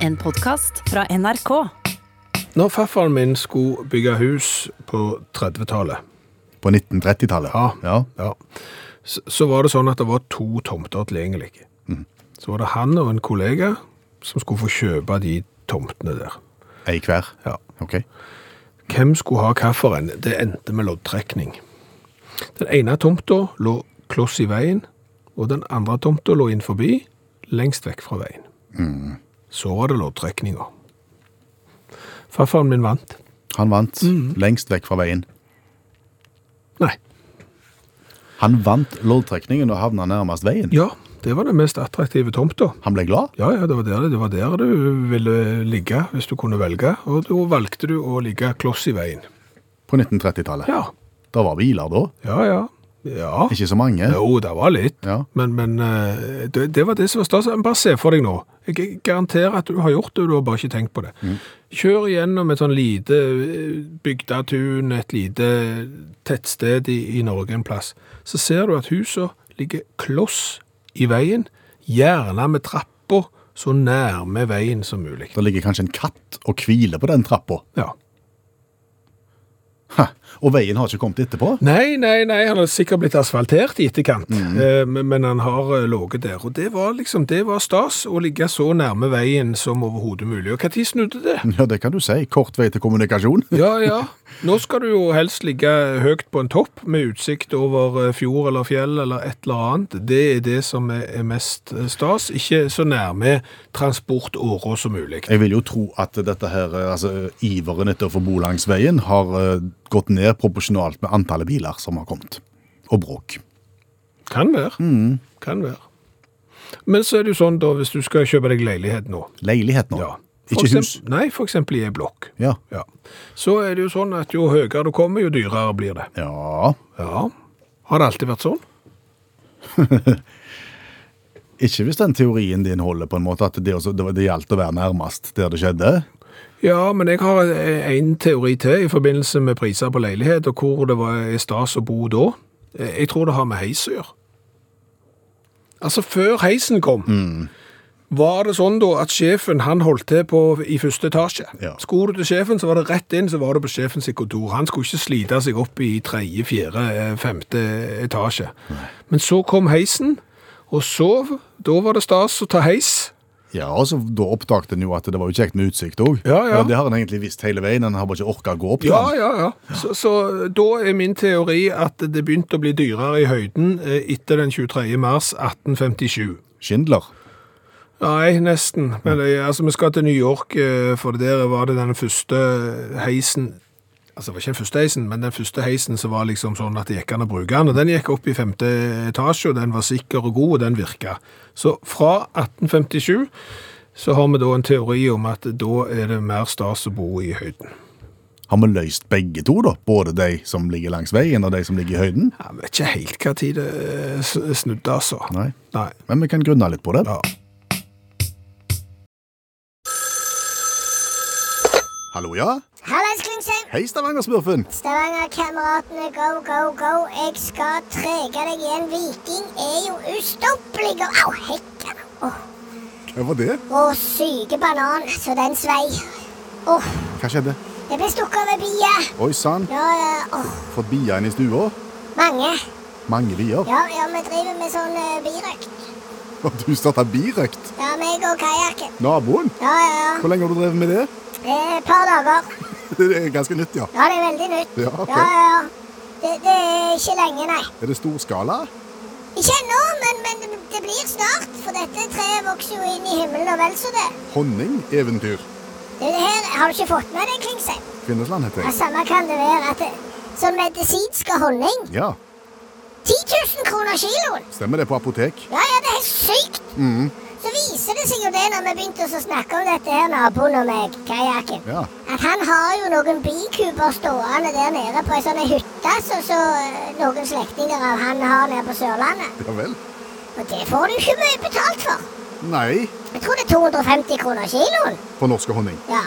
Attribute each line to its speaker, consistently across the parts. Speaker 1: En podkast fra NRK.
Speaker 2: Når farfaren min skulle bygge hus på 30-tallet,
Speaker 3: På 1930-tallet?
Speaker 2: Ja.
Speaker 3: ja.
Speaker 2: ja, så, så var det sånn at det var to tomter tilgjengelig. Så var det han og en kollega som skulle få kjøpe de tomtene der.
Speaker 3: Ei hver?
Speaker 2: Ja.
Speaker 3: Ok.
Speaker 2: Hvem skulle ha hvilken? Det endte med loddtrekning. Den ene tomta lå kloss i veien, og den andre tomta lå inn forbi, lengst vekk fra veien. Så var det loddtrekninga. Farfaren min vant.
Speaker 3: Han vant
Speaker 2: Mhm.
Speaker 3: lengst vekk fra veien.
Speaker 2: Nei.
Speaker 3: Han vant loddtrekningen og havna nærmest veien.
Speaker 2: Ja, det var den mest attraktive tomta.
Speaker 3: Han ble glad.
Speaker 2: Ja, ja, det var, der, det var der du ville ligge hvis du kunne velge, og da valgte du å ligge kloss i veien.
Speaker 3: På 1930-tallet.
Speaker 2: Ja,
Speaker 3: Da var biler da.
Speaker 2: ja, ja. ja.
Speaker 3: Ikke så mange.
Speaker 2: Jo, det var litt,
Speaker 3: Ja.
Speaker 2: men, men eh, det, det var det som var stas. Men Bare se for deg nå. Jeg garanterer at du har gjort det, du har bare ikke tenkt på det. Kjør gjennom et sånn lite eh, bygdatun, et lite tettsted i, i Norge en plass. Så ser du at huset ligger kloss i veien, gjerne med trappa så nærme veien som mulig.
Speaker 3: Det ligger kanskje en katt og hviler på den trappa.
Speaker 2: Ja.
Speaker 3: Ha, Og veien har ikke kommet etterpå.
Speaker 2: Nei, nei, nei, han har sikkert blitt asfaltert i etterkant, eh, men- men han har eh, ligget der. Og det var liksom, det var stas å ligge så nærme veien som overhodet mulig. Og når snudde det?
Speaker 3: Ja, det kan du si. Kort vei til kommunikasjon.
Speaker 2: Ja, ja. Nå skal du jo helst ligge høyt på en topp med utsikt over eh, fjord eller fjell eller et eller annet. Det er det som er er mest eh, stas. Ikke så nærme transportåra som mulig.
Speaker 3: Jeg vil jo tro at dette her, eh, altså iveren etter å få bo langs veien har eh, gått ned proporsjonalt med antallet biler som har kommet. Og bråk.
Speaker 2: Kan være. Kan være. Men så er det jo sånn, da, hvis du skal kjøpe deg leilighet nå
Speaker 3: Leilighet nå.
Speaker 2: Ja. For
Speaker 3: Ikke
Speaker 2: eksempel-
Speaker 3: hus.
Speaker 2: Nei, for eksempel i en blokk.
Speaker 3: Ja.
Speaker 2: Ja. Så er det jo sånn at jo høyere du kommer, jo dyrere blir det.
Speaker 3: ja.
Speaker 2: Ja. Har det alltid vært sånn?
Speaker 3: Ikke hvis den teorien din holder på en måte at det, også, det, var- det gjaldt å være nærmest der det skjedde.
Speaker 2: Ja, men jeg har eh, en teori til i forbindelse med priser på leilighet, og hvor det var er stas å bo da. Eh, Jeg tror det har med heis å gjøre. Altså, før heisen kom, var det sånn da at sjefen han holdt til på, i første etasje.
Speaker 3: Ja.
Speaker 2: Skulle du til sjefen, så var det rett inn, så var du på sjefens kontor. Han skulle ikke slite seg opp i tredje, fjerde, eh, femte etasje. Men så kom heisen, og så, da var det stas å ta heis.
Speaker 3: Ja, og så Da oppdaget en jo at det var jo kjekt med utsikt òg.
Speaker 2: Ja, ja.
Speaker 3: Det har en egentlig visst hele veien. En har bare ikke orka å gå opp til
Speaker 2: Ja,
Speaker 3: den.
Speaker 2: ja, ja. Så, så da er min teori at det begynte å bli dyrere i høyden eh, etter den 23. mars 1857.
Speaker 3: Schindler.
Speaker 2: Nei, nesten. Men eh, altså, vi skal til New York, eh, for der var det den første heisen Altså, det var ikke den første heisen, men den første heisen som var liksom sånn at det gikk an å bruke den. Og den gikk opp i femte etasje, og den var sikker og god, og den virka. Så fra 1857 så har vi da en teori om at da er det mer stas å bo i høyden.
Speaker 3: Har vi løst begge to, da? Både de som ligger langs veien, og de som ligger i høyden?
Speaker 2: Jeg vet ikke helt hva tid det eh, s- snudde, altså.
Speaker 3: Nei.
Speaker 2: Nei.
Speaker 3: Men vi kan grunne litt på det.
Speaker 2: Ja.
Speaker 3: Hallo, ja?
Speaker 4: Hallais, Klingsheim!
Speaker 3: Hei, Stavanger-smurfen.
Speaker 4: Stavanger-kameratene, go, go, go. Jeg skal trege deg igjen. Viking er jo ustoppelig. og- Au, hekken. Åh,
Speaker 3: Hva var det?
Speaker 4: Å, syke banan, så den svei. Åh,
Speaker 3: Hva skjedde?
Speaker 4: det ble stukket over bia.
Speaker 3: Oi sann,
Speaker 4: Ja, ja, åh,
Speaker 3: fått bia inn i stua?
Speaker 4: mange.
Speaker 3: Mange bier.
Speaker 4: Ja, ja, vi driver med sånn uh, birøkt.
Speaker 3: Og du starta birøkt?
Speaker 4: Ja, meg og kajakken.
Speaker 3: Naboen?
Speaker 4: Ja, ja, ja.
Speaker 3: Hvor lenge har du drevet med det?
Speaker 4: Eh, Et par dager.
Speaker 3: Det er ganske nytt, ja.
Speaker 4: Ja, det er veldig nytt.
Speaker 3: Ja, ok.
Speaker 4: ja, ja. ja. Det, det er ikke lenge, nei.
Speaker 3: Er det storskala?
Speaker 4: Ikke ennå, men, men det blir snart. For dette treet vokser jo inn i himmelen og vel så det.
Speaker 3: Honning? Eventyr?
Speaker 4: Du, det her har du ikke fått med deg, Klingsheim.
Speaker 3: Kvinnesland heter
Speaker 4: Ja, samme kan det være at det, som medisinsk honning.
Speaker 3: Ja,
Speaker 4: 10 000 kroner kiloen!
Speaker 3: stemmer det på apotek.
Speaker 4: Ja, ja, det er helt sykt! Så viser det seg jo det når vi begynte å snakke om dette her, naboen og meg, kajakken.
Speaker 3: Ja.
Speaker 4: At han har jo noen bikuber stående der nede på ei sånn hytte som så, eh, noen slektninger av han har nede på Sørlandet.
Speaker 3: Ja vel.
Speaker 4: Og det får du ikke mye betalt for.
Speaker 3: Nei,
Speaker 4: Jeg tror det er 250 kroner kiloen.
Speaker 3: på norske honning.
Speaker 4: Ja.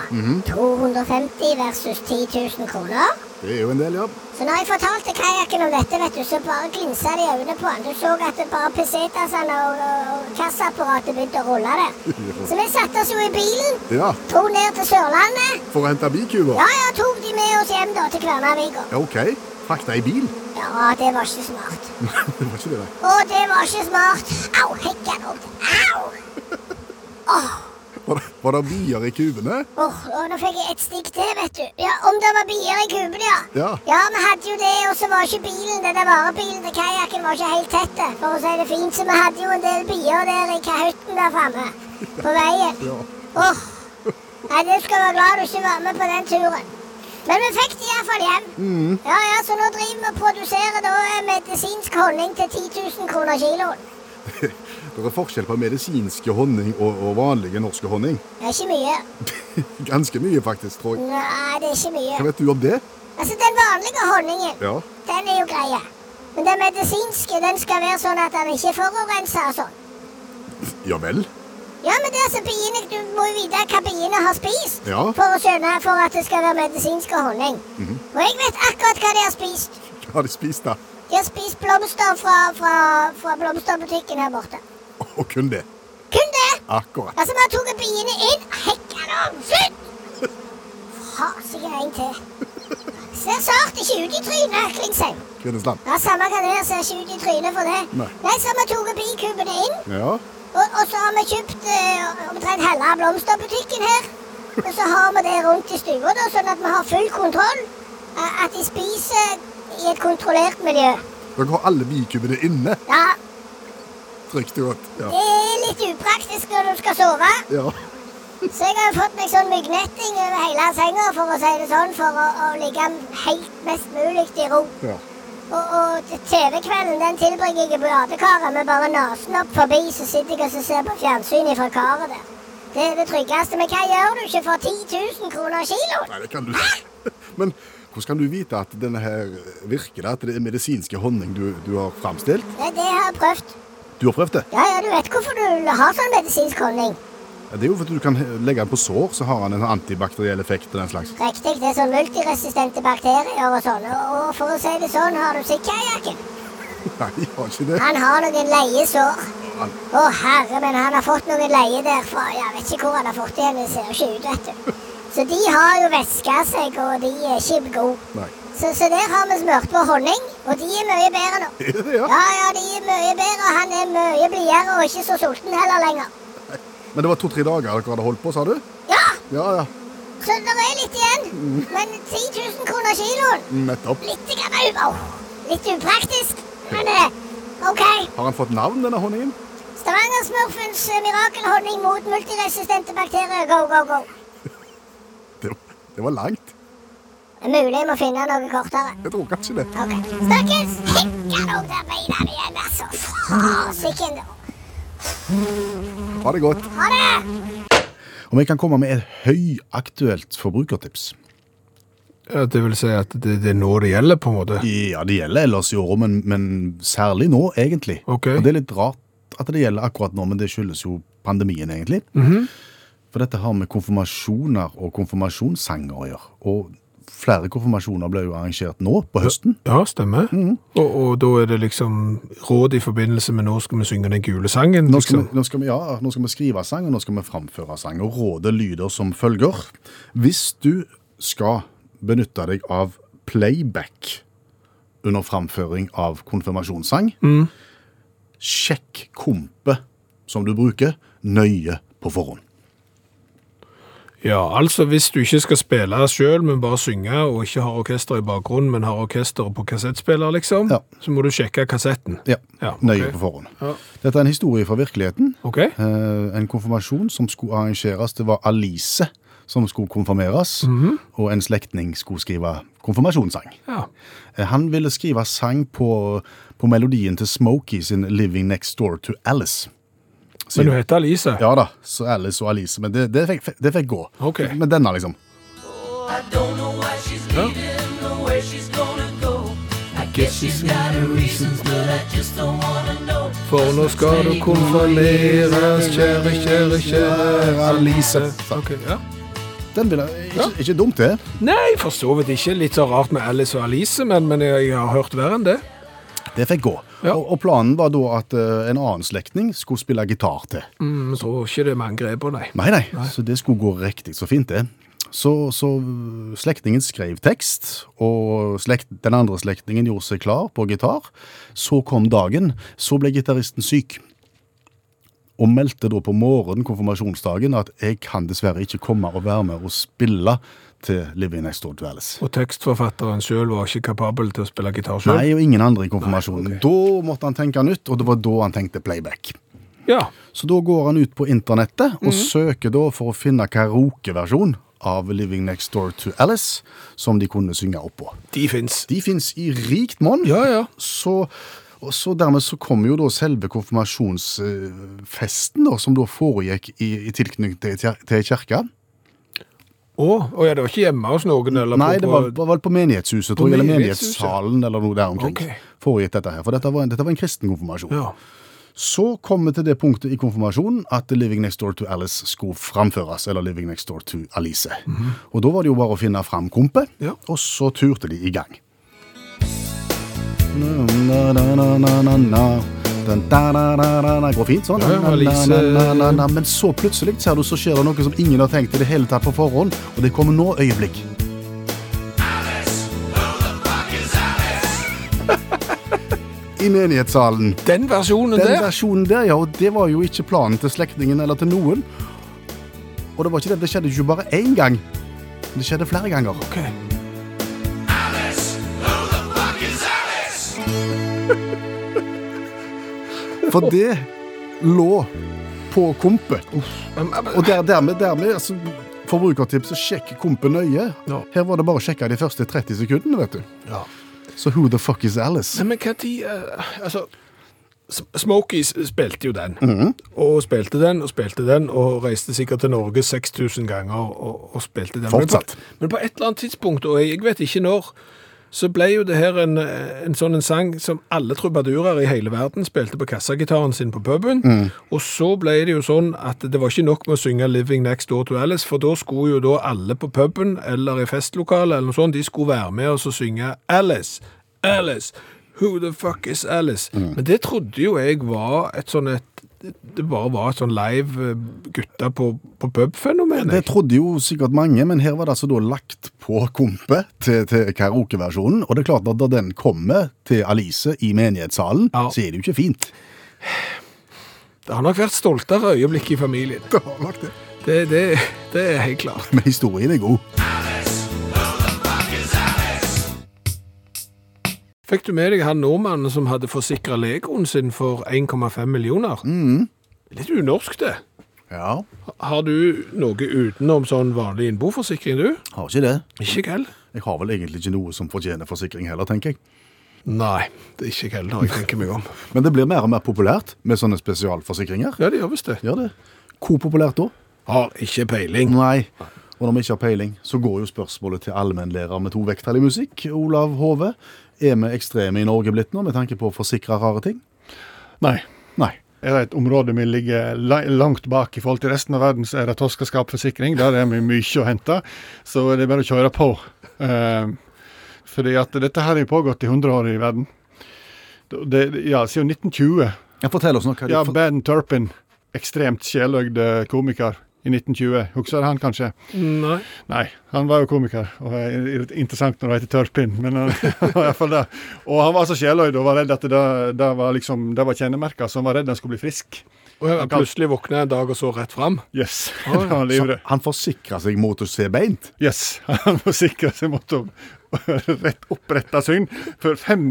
Speaker 4: 250 versus 10 000 kroner.
Speaker 3: Det er jo en del, ja.
Speaker 4: Så når jeg fortalte kajakken om dette, vet du, så bare glinsa det i øynene på han. Du så at det bare pesetasene og, og, og kassaapparatet begynte å rulle der. Så vi satte oss jo i bilen,
Speaker 3: Ja,
Speaker 4: dro ned til Sørlandet.
Speaker 3: For å hente bikuber?
Speaker 4: Ja, ja, tok de med oss hjem da til Kværnervika.
Speaker 3: Ja, OK. Frakta i bil?
Speaker 4: Ja, det var ikke smart.
Speaker 3: det var ikke det, nei.
Speaker 4: Å, det var ikke smart. Au, hekken opp. Au!
Speaker 3: Var det, var det bier i kubene?
Speaker 4: Åh, åh, nå fikk jeg et stikk til, vet du. Ja, Om det var bier i kubene, ja.
Speaker 3: Ja.
Speaker 4: Ja, vi hadde jo det, og så var ikke bilen, den der varebilen til kajakken var ikke helt tett, det, for å si det fint. Så vi hadde jo en del bier der i kahytten der framme, på veien.
Speaker 3: Ja.
Speaker 4: Åh, nei, du skal være glad du ikke var med på den turen. Men vi fikk det iallfall hjem.
Speaker 3: Mm.
Speaker 4: Ja, ja, Så nå driver vi og produserer da eh, medisinsk honning til 10 000 kroner kiloen.
Speaker 3: Det er forskjell på medisinske honning og, og vanlige norske honning.
Speaker 4: Det er ikke mye.
Speaker 3: Ganske mye, faktisk, tror jeg.
Speaker 4: Nei, det er ikke
Speaker 3: Hva
Speaker 4: mye.
Speaker 3: vet du om det?
Speaker 4: Altså, den vanlige honningen
Speaker 3: Ja.
Speaker 4: Den er jo greie. Men den medisinske den skal være sånn at den ikke forurenser og sånn.
Speaker 3: Ja vel?
Speaker 4: Ja, men det er så biene, Du må jo vite hva biene har spist
Speaker 3: Ja. Mhm.
Speaker 4: for å skjønne for at det skal være medisinsk og honning. Og jeg vet akkurat hva de har spist.
Speaker 3: Hva har de spist, da?
Speaker 4: De har spist blomster fra, fra, fra blomsterbutikken her borte.
Speaker 3: Og kun det.
Speaker 4: Kun det!
Speaker 3: Akkurat.
Speaker 4: Altså, vi har tatt biene inn. Hekka dem! Slutt! Fasige en til. Ser sart ikke ut i trynet, Klingsheim.
Speaker 3: Kvinnesland.
Speaker 4: Ja, Samme hva det er, ser ikke ut i trynet for det.
Speaker 3: Nei.
Speaker 4: Nei, så har vi tatt bikubene inn,
Speaker 3: Ja.
Speaker 4: og, og så har vi kjøpt eh, omtrent halve blomsterbutikken her. Og så har vi det rundt i stua, da, sånn at vi har full kontroll. eh, At de spiser i et kontrollert miljø.
Speaker 3: Dere har alle bikubene inne.
Speaker 4: Ja,
Speaker 3: Trygt og godt. Ja.
Speaker 4: det er litt upraktisk når du skal sove.
Speaker 3: ja.
Speaker 4: Så jeg har jo fått meg sånn myggnetting over hele senga, for å si det sånn, for å, å ligge helt mest mulig i ro.
Speaker 3: ja.
Speaker 4: Og, og TV-kvelden den tilbringer jeg i badekaret med bare nesen opp forbi, så sitter jeg og så ser på fjernsyn fra karet der. Det er det tryggeste. Men hva gjør du ikke for 10 000 kroner kiloen?
Speaker 3: Nei, det kan du ikke. Men hvordan kan du vite at denne her virker, at det er medisinske honning du, du har framstilt?
Speaker 4: Det, det har jeg prøvd.
Speaker 3: Du har prøvd det?
Speaker 4: Ja, ja, du vet hvorfor du har sånn medisinsk honning.
Speaker 3: Ja, Det er jo fordi du kan he- legge den på sår, så har han en antibakteriell effekt og den slags.
Speaker 4: Riktig, det er sånn multiresistente bakterier og sånn. Og, og for å si det sånn, har du sett kajakken?
Speaker 3: Nei, jeg har ikke det.
Speaker 4: Han har noen leiesår.
Speaker 3: Han-
Speaker 4: Å herre, men han har fått noen leie derfra. Jeg vet ikke hvor han har fått det hen, det ser jo ikke ut, vet du. Så de har jo væska seg, og de er ikke gode.
Speaker 3: Nei.
Speaker 4: Så, så der har vi smurt på honning, og de er mye bedre nå.
Speaker 3: Er det, ja?
Speaker 4: Ja, ja, de er mye bedre, og han er mye blidere og ikke så sulten heller lenger.
Speaker 3: Men det var to-tre dager dere hadde holdt på, sa du?
Speaker 4: Ja,
Speaker 3: Ja, ja.
Speaker 4: så det er litt igjen. Men 10 000 kroner kiloen,
Speaker 3: Nettopp.
Speaker 4: litt grann u- au. Litt upraktisk, men eh, OK.
Speaker 3: Har han fått navn, denne honningen?
Speaker 4: Stavanger-smurfens eh, mirakelhonning mot multiresistente bakterier, go, go, go.
Speaker 3: Det, det var langt.
Speaker 4: Det er Mulig jeg må finne noe kortere.
Speaker 3: Jeg tror kanskje det.
Speaker 4: Ok, Snakkes! Hekka noen der beina igjen, altså. Fasiken, da.
Speaker 3: Ha det godt.
Speaker 4: Ha det!
Speaker 3: Om jeg kan komme med et høyaktuelt forbrukertips?
Speaker 2: Ja, det vil si at det, det er nå det gjelder, på en måte.
Speaker 3: Ja, det gjelder ellers i året, men, men særlig nå, egentlig.
Speaker 2: Ok.
Speaker 3: Og det er litt rart at det gjelder akkurat nå, men det skyldes jo pandemien, egentlig.
Speaker 2: Mhm.
Speaker 3: For dette har med konfirmasjoner og konfirmasjonssanger å gjøre. Og flere konfirmasjoner ble jo arrangert nå, på høsten.
Speaker 2: Ja, stemmer.
Speaker 3: Mhm.
Speaker 2: Og, og da er det liksom råd i forbindelse med nå skal vi synge den gule sangen.
Speaker 3: Nå skal,
Speaker 2: Liksom.
Speaker 3: vi, nå, skal vi, ja, nå skal vi skrive sang, og nå skal vi framføre sang. Og rådet lyder som følger. Hvis du skal benytte deg av playback under framføring av konfirmasjonssang, sjekk kompet som du bruker, nøye på forhånd.
Speaker 2: Ja, altså hvis du ikke skal spille sjøl, men bare synge, og ikke har orkester i bakgrunnen, men har orkesteret på kassettspiller, liksom,
Speaker 3: Ja.
Speaker 2: så må du sjekke kassetten.
Speaker 3: Ja,
Speaker 2: Ja, ok.
Speaker 3: nøye på forhånd. Dette er en historie fra virkeligheten.
Speaker 2: OK?
Speaker 3: Eh, en konfirmasjon som skulle arrangeres, det var Alice som skulle konfirmeres, og en slektning skulle skrive konfirmasjonssang.
Speaker 2: Ja.
Speaker 3: Eh, Han ville skrive sang på, på melodien til Smokey sin Living Next Door to Alice.
Speaker 2: Men hun heter Alice.
Speaker 3: Ja da, så Alice og Alice, men det, det, fikk, det fikk gå.
Speaker 2: Ok.
Speaker 3: Men denne, liksom.
Speaker 5: I don't know why she's leaving or where she's gonna go. I guess she's got her reasons, but I just don't wanna know.
Speaker 2: For nå skal du konfirmeres, kjære, kjære, kjære Alice. Ok, ja.
Speaker 6: Den vil jeg, ikke, ikke dumt, det.
Speaker 2: Nei, for så vidt ikke. Litt så rart med Alice og Alice, men, men jeg har hørt verre enn det.
Speaker 6: Det fikk gå.
Speaker 2: Ja.
Speaker 6: Og, og planen var da at eh, en annen slektning skulle spille gitar til.
Speaker 2: Mm, jeg tror ikke det er mange grep på, nei.
Speaker 6: Nei, nei, så det skulle gå riktig så fint, det. Så, så eh, slektningen skrev tekst, og slekt, den andre slektningen gjorde seg klar på gitar. Så kom dagen, så ble gitaristen syk. Og meldte da på morgenen konfirmasjonsdagen at jeg kan dessverre ikke komme og være med og spille til Living Next Door Dwellers.
Speaker 2: Og tekstforfatteren sjøl var ikke kapabel til å spille gitar sjøl?
Speaker 6: Nei, og ingen andre i konfirmasjonen. Da måtte han tenke nytt, og det var da han tenkte playback.
Speaker 2: Ja.
Speaker 6: Så da går han ut på internettet og
Speaker 2: Mhm.
Speaker 6: søker da for å finne karaokeversjon av Living Next Door to Alice, som de kunne synge oppå.
Speaker 2: De fins.
Speaker 6: De fins i rikt monn,
Speaker 2: Ja, ja.
Speaker 6: så, og så dermed så kommer jo da selve konfirmasjonsfesten, da, som da foregikk i, i tilknytning til, kjer- til kirka.
Speaker 2: Å, å ja, det var ikke hjemme hos noen? Eller
Speaker 6: Nei,
Speaker 2: på,
Speaker 6: det var, var vel på menighetshuset, tror jeg, eller
Speaker 2: menighetshuset?
Speaker 6: menighetssalen, eller noe der omkring.
Speaker 2: Ok.
Speaker 6: Foregikk dette her, for dette var en, dette var en kristen konfirmasjon.
Speaker 2: ja.
Speaker 6: Så kom vi til det punktet i konfirmasjonen at Living Next Door to Alice skulle framføres, eller Living Next Door to Alice. Og da var det jo bare å finne fram kompet,
Speaker 2: Ja.
Speaker 6: og så turte de i gang. Na, na, na, na, na, na. Den, da, da, da, da, da. Går fint, sånn.
Speaker 2: Ja, ja,
Speaker 6: Na, na,
Speaker 2: Alice- eh,
Speaker 6: na, na, na, na. Men så plutselig ser du, så skjer det noe som ingen har tenkt i det hele tatt på forhånd, og det kommer nå øyeblikk. I menighetssalen.
Speaker 2: Den versjonen
Speaker 6: Den
Speaker 2: der?
Speaker 6: versjonen der, ja, og det var jo ikke planen til slektningen eller til noen. Og det var ikke det, det skjedde jo bare én gang. Det skjedde flere ganger.
Speaker 2: Ok.
Speaker 6: For det lå på kompet.
Speaker 2: Men, men,
Speaker 6: Og der, dermed, dermed altså, Forbrukertips, sjekk kompet nøye.
Speaker 2: Ja.
Speaker 6: Her var det bare å sjekke de første 30 sekundene, vet du.
Speaker 2: ja.
Speaker 6: Så who the fuck is Alice?
Speaker 2: Nei, men hva tid eh, Altså, S- Smokies spilte jo den. Og spilte den og spilte den, og reiste sikkert til Norge 6000 ganger og, og spilte den.
Speaker 6: Fortsatt.
Speaker 2: Men på, men på et eller annet tidspunkt, og jeg vet ikke når, så ble jo det her en, eh, en sånn en sang som alle trubadurer i hele verden spilte på kassagitaren sin på puben.
Speaker 6: Mm.
Speaker 2: Og så ble det jo sånn at det var ikke nok med å synge 'Living Next Door to Alice', for da skulle jo da alle på puben eller i festlokalet eller noe sånt, de skulle være med og så synge 'Alice', 'Alice'. Who the fuck is Alice?
Speaker 6: Mm.
Speaker 2: Men det trodde jo jeg var et sånn et Det bare var et sånn live eh, gutta på, på pub-fenomen.
Speaker 6: Det
Speaker 2: jeg.
Speaker 6: trodde jo sikkert mange, men her var det altså da lagt på kompet til, til karaokeversjonen. Og det er klart at da den kommer til Alice i menighetssalen,
Speaker 2: Ja.
Speaker 6: så er det jo ikke fint.
Speaker 2: Det har nok vært stoltere øyeblikk i familien.
Speaker 6: Det har nok det.
Speaker 2: Det, det, det er helt klart.
Speaker 6: Men historien er god.
Speaker 2: Fikk du med deg han nordmannen som hadde forsikra legoen sin for 1,5 millioner?
Speaker 7: Mm.
Speaker 2: Litt unorsk, det.
Speaker 6: Ja,
Speaker 2: Har du noe utenom sånn vanlig innboforsikring, du?
Speaker 6: har ikke det.
Speaker 2: Ikke jeg heller.
Speaker 6: Jeg har vel egentlig ikke noe som fortjener forsikring heller, tenker jeg.
Speaker 2: Nei, det er ikke jeg heller. Jeg tenker mye om.
Speaker 6: Men det blir mer og mer populært med sånne spesialforsikringer.
Speaker 2: Ja, det gjør visst det.
Speaker 6: Gjør det. Hvor populært da?
Speaker 2: Har ikke peiling.
Speaker 6: Nei. Og når vi ikke har peiling, så går jo spørsmålet til allmennlærer med to vekttall i musikk, Olav Hove. Er vi ekstreme i Norge blitt nå, med tanke på å forsikre rare ting?
Speaker 7: Nei.
Speaker 6: Nei.
Speaker 7: Er det et område vi ligger la- langt bak i forhold til resten av verden, så er det torskeskapforsikring. Der er vi mye å hente. Så det er bare å kjøre på. Eh, fordi at dette her har jo pågått i 100 år i verden. Det, det- ja, siden 1920.
Speaker 6: Ja, fortell oss noe. Hva
Speaker 7: Ja,
Speaker 6: du-
Speaker 7: Ben Turpin. Ekstremt sjeløyd eh, komiker i 1920. Husker du han, kanskje?
Speaker 2: Nei.
Speaker 7: Nei, han var jo komiker, og det er interessant når du heter Tørrpinn, men han han var i hvert fall det. Og han var så sjeløyd og var redd at det, det var liksom, det var kjennemerka, så han var redd han skulle bli frisk.
Speaker 2: Og jeg plutselig våkna en dag og så rett fram.
Speaker 7: Yes, han var
Speaker 6: så
Speaker 7: livredd.
Speaker 6: han forsikrer seg mot å se beint.
Speaker 7: Yes, han må sikre seg mot å rett opprette syn. For 25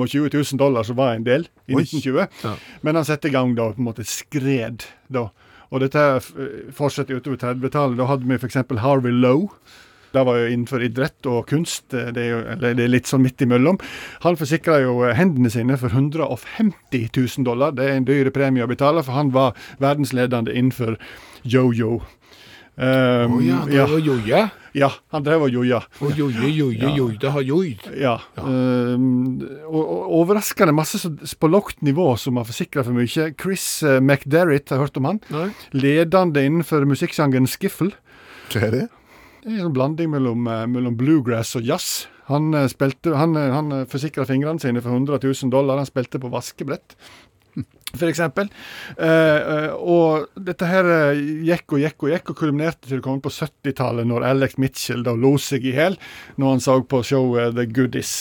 Speaker 7: 000 dollar så var en del i
Speaker 6: Oi.
Speaker 7: 1920. Men han satte i gang da, på en måte skred da. Og dette her, eh, fortsetter utover 30-tallet. Da hadde vi f.eks. Harvey Lowe. Det var jo innenfor idrett og kunst. eh, Det er, jo, eller det er litt sånn midt imellom. Han forsikra jo eh, hendene sine for 150 000 dollar. Det er en dyre premie å betale, for han var verdensledende innenfor yo-yo.
Speaker 2: Å Mm,
Speaker 7: Um,
Speaker 2: ja, det var joie.
Speaker 7: Ja, han drev og joia.
Speaker 2: Og joide, joide, joide har joid.
Speaker 7: Ja. ehm, og, og overraskende masse som- på lavt nivå som har forsikra for mye. Chris eh, McDerritt, har jeg hørt om han.
Speaker 2: Nei.
Speaker 7: Ledende innenfor musikksjangeren skiffle.
Speaker 3: Hva er det?
Speaker 7: Det er en sånn blanding mellom, eh, mellom bluegrass og jazz. Han, eh, spilte- han, eh, han eh, forsikra fingrene sine for 100 000 dollar. Han spilte på vaskebrett, for eksempel. Eh, eh, og dette her eh, gikk og gikk og gikk, og kulminerte til det kom på 70-tallet, når Alex Mitchell da lo seg i hjel når han så på showet The Goodies.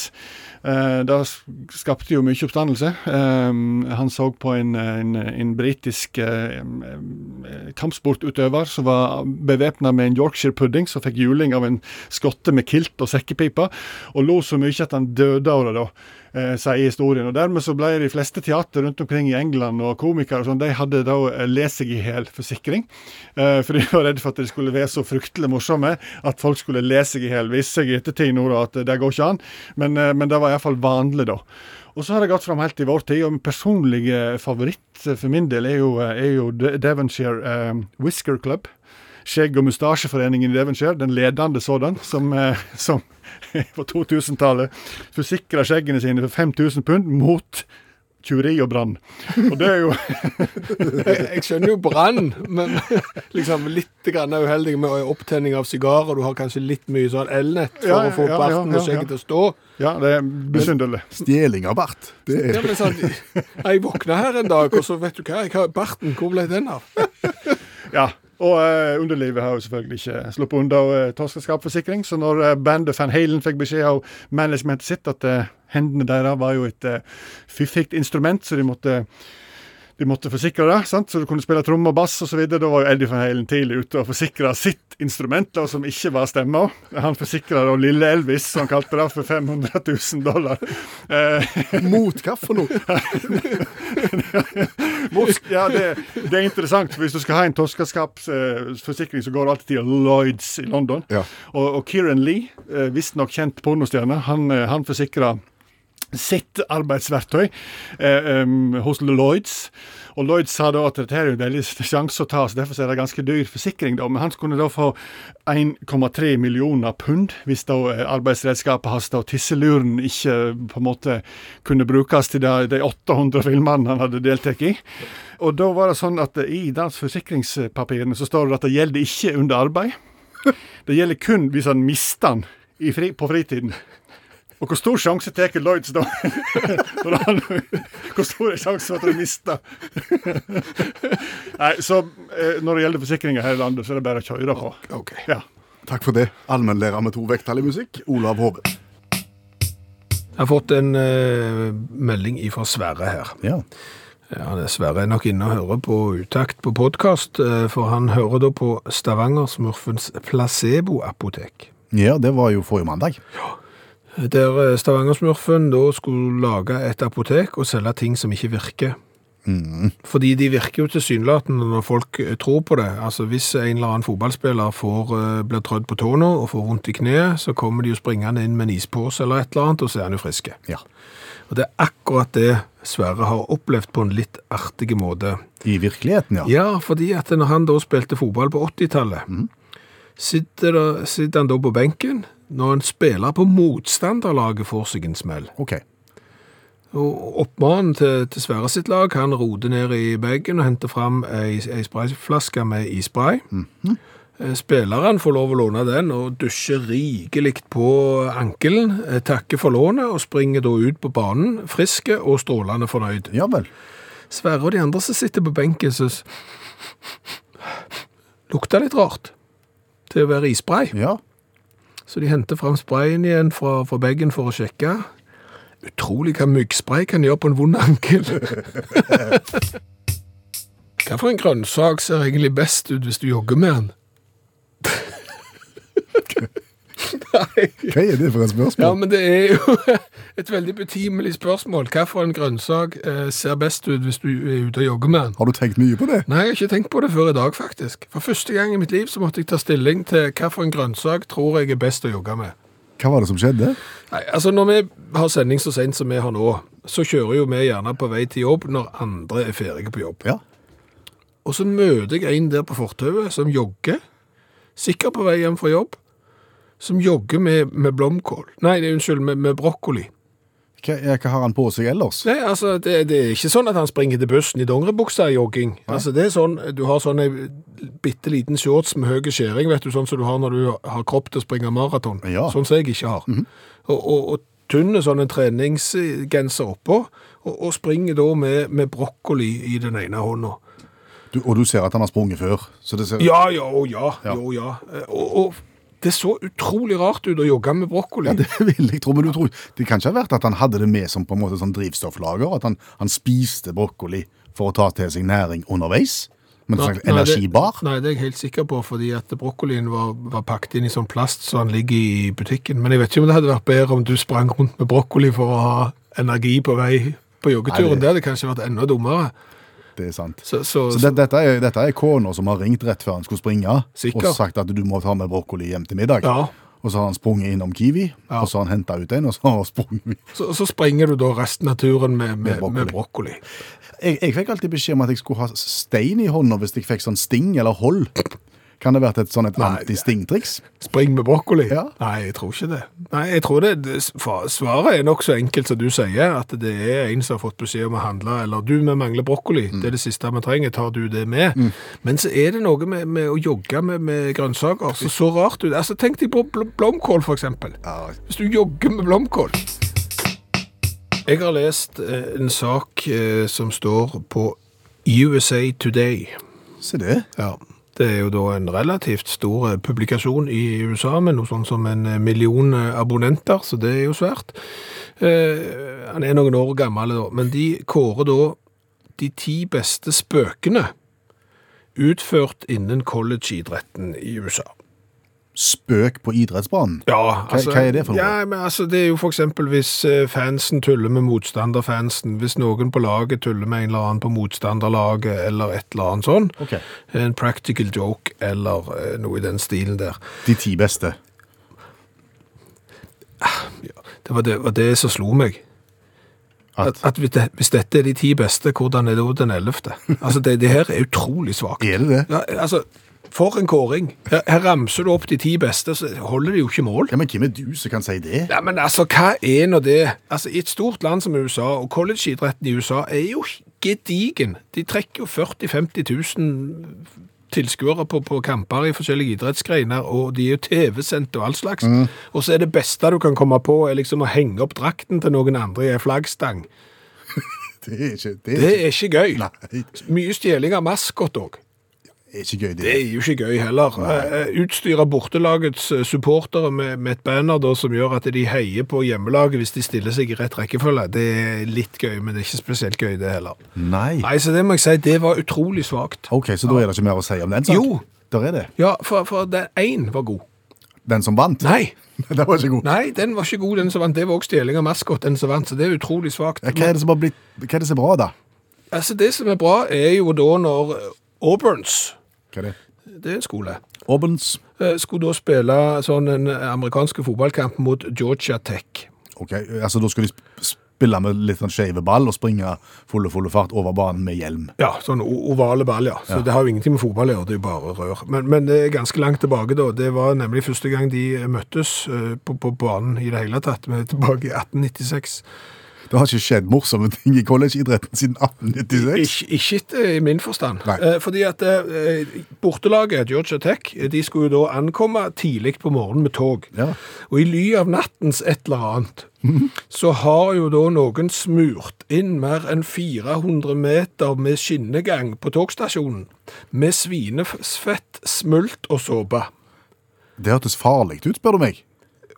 Speaker 7: Eh, det s- skapte jo mye oppstandelse. Eh, han så på en, en, en britisk eh, eh, kampsportutøver som var bevæpna med en Yorkshire pudding, som fikk juling av en skotte med kilt og sekkepipe, og lo så mye at han døde av det, da, eh, sier historien. Og Dermed så ble de fleste teater rundt omkring i England og komikere og sånn, de hadde da eh, les seg i hæl-forsikring, eh, for de var redd for at de skulle være så fryktelig morsomme at folk skulle le seg i hæl. Viste seg i ettertid nå da at det går ikke an, men, eh, men det var iallfall vanlig da. Og så har det gått fram helt i vår tid, og min personlige favoritt eh, for min del er jo, eh, er jo De- Devonshire eh, Whisker Club. Skjegg- og mustasjeforeningen i Devonshire, den ledende sådan, som, eh, som på 2000-tallet forsikra skjeggene sine for 5000 pund mot tjuveri og brann. Og det er jo
Speaker 2: Jeg, jeg skjønner jo brann, men liksom litt grann er uheldig med opptenning av sigarer. Du har kanskje litt mye sånn elnett for
Speaker 7: Ja, ja,
Speaker 2: å få
Speaker 7: ja,
Speaker 2: opp barten
Speaker 7: ja,
Speaker 2: og
Speaker 7: ja, ja.
Speaker 2: skjegget til å stå.
Speaker 7: Ja, det er besynderlig.
Speaker 3: Stjeling av bart. Det er
Speaker 2: Ja, men sånn, Jeg våkna her en dag, og så vet du hva, jeg har barten. Hvor ble den av?
Speaker 7: Ja. Og eh, underlivet har jo selvfølgelig ikke sluppet unna uh, torskeskapforsikring, så når eh, bandet Van Halen fikk beskjed av managementet sitt at eh, hendene deres var jo et uh, fiffigt instrument, så de måtte, de måtte forsikre det, sant? så du kunne spille tromme og bass osv. Da var jo Eddie Van Halen tidlig ute og forsikra sitt instrument, da, som ikke var stemma. Han forsikra da Lille Elvis, som han kalte det, for 500 000 dollar. Eh,
Speaker 3: mot hva for noe?
Speaker 7: Mosk, ja, det, det er interessant. for Hvis du skal ha en toskaskapsforsikring, så går det alltid til Lloyds i London.
Speaker 3: Ja.
Speaker 7: Og, og Kieran Lee, eh, visstnok kjent pornostjerne, han, eh, han forsikra sitt arbeidsverktøy eh, em, hos Lloyds. Og Lloyds sa da at dette er jo en veldig sjanse å ta, så derfor så er det ganske dyr forsikring. da, Men han kunne da få 1,3 millioner pund hvis da eh, arbeidsredskapet hans og tisseluren ikke eh, på en måte kunne brukes til de, de 800 filmene han hadde deltatt i. Og da var det sånn at eh, i dans forsikringspapirene så står det at det gjelder ikke under arbeid. Det gjelder kun hvis han mister den i fri, på fritiden. Og hvor stor sjanse tar Lloyds da? Når han- hvor stor er sjansen for at du mister? Nei, så eh, når det gjelder forsikringer her i landet, så er det bare å kjøre på.
Speaker 3: Ok.
Speaker 7: Ja.
Speaker 3: Takk for det. Allmennlærer med to vekttall i musikk, Olav Hove.
Speaker 2: Jeg har fått en eh, melding ifra Sverre her.
Speaker 3: Ja.
Speaker 2: Ja, det er Sverre nok inne og hører på Utakt på podkast, for han hører da på Stavanger-smurfens placeboapotek.
Speaker 3: ja, det var jo forrige mandag.
Speaker 2: Der eh, Stavanger-smurfen da skulle lage et apotek og selge ting som ikke virker. Fordi de virker jo tilsynelatende når folk eh, tror på det. Altså Hvis en eller annen fotballspiller får, eh, blir trødd på tåna og får vondt i kneet, så kommer de jo springende inn med en ispose eller et eller annet, og så er han jo friske.
Speaker 3: Ja.
Speaker 2: Og det er akkurat det Sverre har opplevd på en litt artig måte.
Speaker 3: I virkeligheten, ja.
Speaker 2: Ja, fordi at når han da spilte fotball på 80-tallet, sitter, da- sitter han da på benken når en spiller på motstanderlaget får seg en smell.
Speaker 3: Ok.
Speaker 2: Og oppmannen til, til Sverre sitt lag, han roder ned i bagen og henter fram ei, ei sprayflaske med isspray. Eh, Spilleren får lov å låne den og dusjer rikelig på ankelen, eh, takker for lånet og springer da ut på banen, friske og strålende fornøyd.
Speaker 3: Ja vel.
Speaker 2: Sverre og de andre som sitter på benken, synes lukta litt rart til å være isspray.
Speaker 3: Ja.
Speaker 2: Så de henter fram sprayen igjen fra, fra bagen for å sjekke. Utrolig hva myggspray kan gjøre på en vond ankel. hva for en grønnsak ser egentlig best ut hvis du jogger med den? Nei.
Speaker 3: Hva er det for et
Speaker 2: Ja,
Speaker 3: spørsmål?
Speaker 2: men det er jo et veldig betimelig spørsmål. Hva for en grønnsak eh, ser best ut hvis du er ute og jogger med den?
Speaker 3: Har du tenkt mye på det?
Speaker 2: Nei, jeg har ikke tenkt på det før i dag, faktisk. For første gang i mitt liv så måtte jeg ta stilling til hva for en grønnsak tror jeg er best å jogge med.
Speaker 3: Hva var det som skjedde?
Speaker 2: Nei, altså Når vi har sending så sent som vi har nå, så kjører jo vi gjerne på vei til jobb når andre er ferdige på jobb.
Speaker 3: Ja.
Speaker 2: Og så møter jeg en der på fortauet som jogger, sikkert på vei hjem fra jobb, som jogger med, med blomkål. Nei, det er unnskyld, med, med brokkoli.
Speaker 3: Hva, ja, hva har han på seg ellers?
Speaker 2: Nei, altså, det, det er ikke sånn at han springer til bussen i dongeribuksa og jogging. Altså, det er sånn, du har sånn en bitte liten shorts med høy skjæring, vet du, sånn som du har når du har kropp til å springe maraton.
Speaker 3: Ja. Mhm.
Speaker 2: Sånn som jeg ikke har. Og, og, og tynne sånne treningsgenser oppå, og, og springer da med, med brokkoli i den ene hånda.
Speaker 3: Du, og du ser at han har sprunget før. Så det ser,
Speaker 2: Ja, ja, og ja,
Speaker 3: Ja.
Speaker 2: jo, ja. Eh, Og, og det så utrolig rart ut å jogge med brokkoli.
Speaker 3: Ja, det vil jeg tro, men du tror Det kan ikke ha vært at han hadde det med som på en måte sånn drivstofflager, at han, han spiste brokkoli for å ta til seg næring underveis? Men en slags energibar?
Speaker 2: Nei, det, nei, det er jeg helt sikker på, fordi at brokkolien var, var pakket inn i sånn plast, så han ligger i butikken. Men jeg vet ikke om det hadde vært bedre om du sprang rundt med brokkoli for å ha energi på vei på joggeturen.
Speaker 3: Nei, det-
Speaker 2: det... hadde kanskje vært enda dummere.
Speaker 3: Det er sant.
Speaker 2: Så, så,
Speaker 3: Så det, dette er, dette er kona som har ringt rett før han skulle springe,
Speaker 2: Sikker.
Speaker 3: og sagt at du må ta med brokkoli hjem til middag.
Speaker 2: Ja.
Speaker 3: Og så har han sprunget innom Kiwi, og så har han henta ut en, og så har han sprunget
Speaker 2: så, så springer du da resten av turen med, med,
Speaker 3: brokkoli.
Speaker 2: med brokkoli.
Speaker 3: jeg, jeg fikk alltid beskjed om at jeg skulle ha stein i hånda hvis jeg fikk sånn sting eller hold. Kan det ha vært et sånn et anti-sting-triks?
Speaker 2: Spring med brokkoli?
Speaker 3: Ja.
Speaker 2: Nei, jeg tror ikke det. Nei, jeg tror det, det fa- Svaret er nok så enkelt som du sier, at det er en som har fått beskjed om å handle, eller du, vi mangler brokkoli, det er det siste vi trenger, tar du det med? Men så er det noe med, med å jogge med, med grønnsaker, så så rart ut. Altså, tenk deg på bl blomkål, for eksempel. Hvis du jogger med blomkål. Jeg har lest eh, en sak eh, som står på USA Today.
Speaker 3: Se det.
Speaker 2: Ja, det er jo da en relativt stor eh, publikasjon i USA, med noe sånn som en eh, million eh, abonnenter, så det er jo svært. Eh, han er noen år gammel da, men de kårer da de ti beste spøkene utført innen college-idretten i USA.
Speaker 3: Spøk på idrettsbanen.
Speaker 2: Ja,
Speaker 3: Hva- hva er det for noe?
Speaker 2: Ja, men altså, det er jo for eksempel hvis eh, fansen tuller med motstanderfansen, hvis noen på laget tuller med en eller annen på motstanderlaget, eller et eller annet sånn.
Speaker 3: Ok.
Speaker 2: En practical joke, eller eh, noe i den stilen der.
Speaker 3: De ti beste.
Speaker 2: Det var det, var det som slo meg. At,
Speaker 3: At,
Speaker 2: at hvis, det, hvis dette er de ti beste, hvordan er det da den ellevte? Altså, det, det her er utrolig svakt.
Speaker 3: er det det?
Speaker 2: Ja, altså, for en kåring. Her, her ramser du opp de ti beste, så holder de jo ikke mål.
Speaker 3: Ja, men hvem er du som kan si det?
Speaker 2: Ja, men altså, hva er nå det? Altså, I et stort land som USA, og collegeidretten i USA er jo gedigen. De trekker jo 40 000-50 000 tilskuere på, på kamper i forskjellige idrettsgreiner, og de er jo TV-sendt og all slags.
Speaker 3: Mm.
Speaker 2: Og så er det beste du kan komme på, er liksom å henge opp drakten til noen andre i en flaggstang.
Speaker 3: Det er ikke, det er
Speaker 2: Det
Speaker 3: ikke,
Speaker 2: er ikke gøy.
Speaker 3: Nei.
Speaker 2: Mye stjeling av maskott òg.
Speaker 3: det er ikke gøy, det.
Speaker 2: Det er jo ikke gøy heller. Eh, Utstyre bortelagets eh, supportere med, med et banner da, som gjør at de heier på hjemmelaget hvis de stiller seg i rett rekkefølge, det er litt gøy, men det er ikke spesielt gøy det heller.
Speaker 3: Nei.
Speaker 2: Nei, så det må jeg si, det var utrolig svagt.
Speaker 3: Ok, så da er det ikke mer å si om den saken?
Speaker 2: Jo.
Speaker 3: Der er det.
Speaker 2: Ja, for, for den én var god.
Speaker 3: Den som vant?
Speaker 2: Nei,
Speaker 3: Den var ikke god.
Speaker 2: nei, den var ikke god, den som vant. Det var også stjeling av maskot, den som vant, så det er utrolig svakt.
Speaker 3: Ja, Hva er det som har blitt Hva er det som er bra, da?
Speaker 2: Altså, det som er bra, er jo da når eh, Auburns,
Speaker 3: Hva er det?
Speaker 2: det er en skole,
Speaker 3: Aubens.
Speaker 2: eh, skulle da spille sånn en amerikansk fotballkamp mot Georgia Tech.
Speaker 3: Ok, altså da skal de sp- spille med litt sånn skeive ball og springe fulle, fulle fart over banen med hjelm.
Speaker 2: Ja, sånn o- ovale ball, ja. Så det har jo ingenting med fotball å gjøre, det er jo bare rør. Men, men det er ganske langt tilbake da. Det var nemlig første gang de møttes eh, på, på banen i det hele tatt, men tilbake i 1896.
Speaker 3: Det har ikke skjedd morsomme ting i collegeidretten siden 1896.
Speaker 2: Ikke, ikke etter i min forstand.
Speaker 3: Nei.
Speaker 2: Eh, fordi at eh, bortelaget, Georgia Tech, eh, de skulle jo da ankomme tidlig på morgenen med tog.
Speaker 3: Ja. Mhm.
Speaker 2: Og i ly av nattens et eller annet, så har jo da noen smurt inn mer enn 400 meter med skinnegang på togstasjonen. Med svinefett, smult og såpe.
Speaker 3: Det hørtes farlig ut, spør du meg.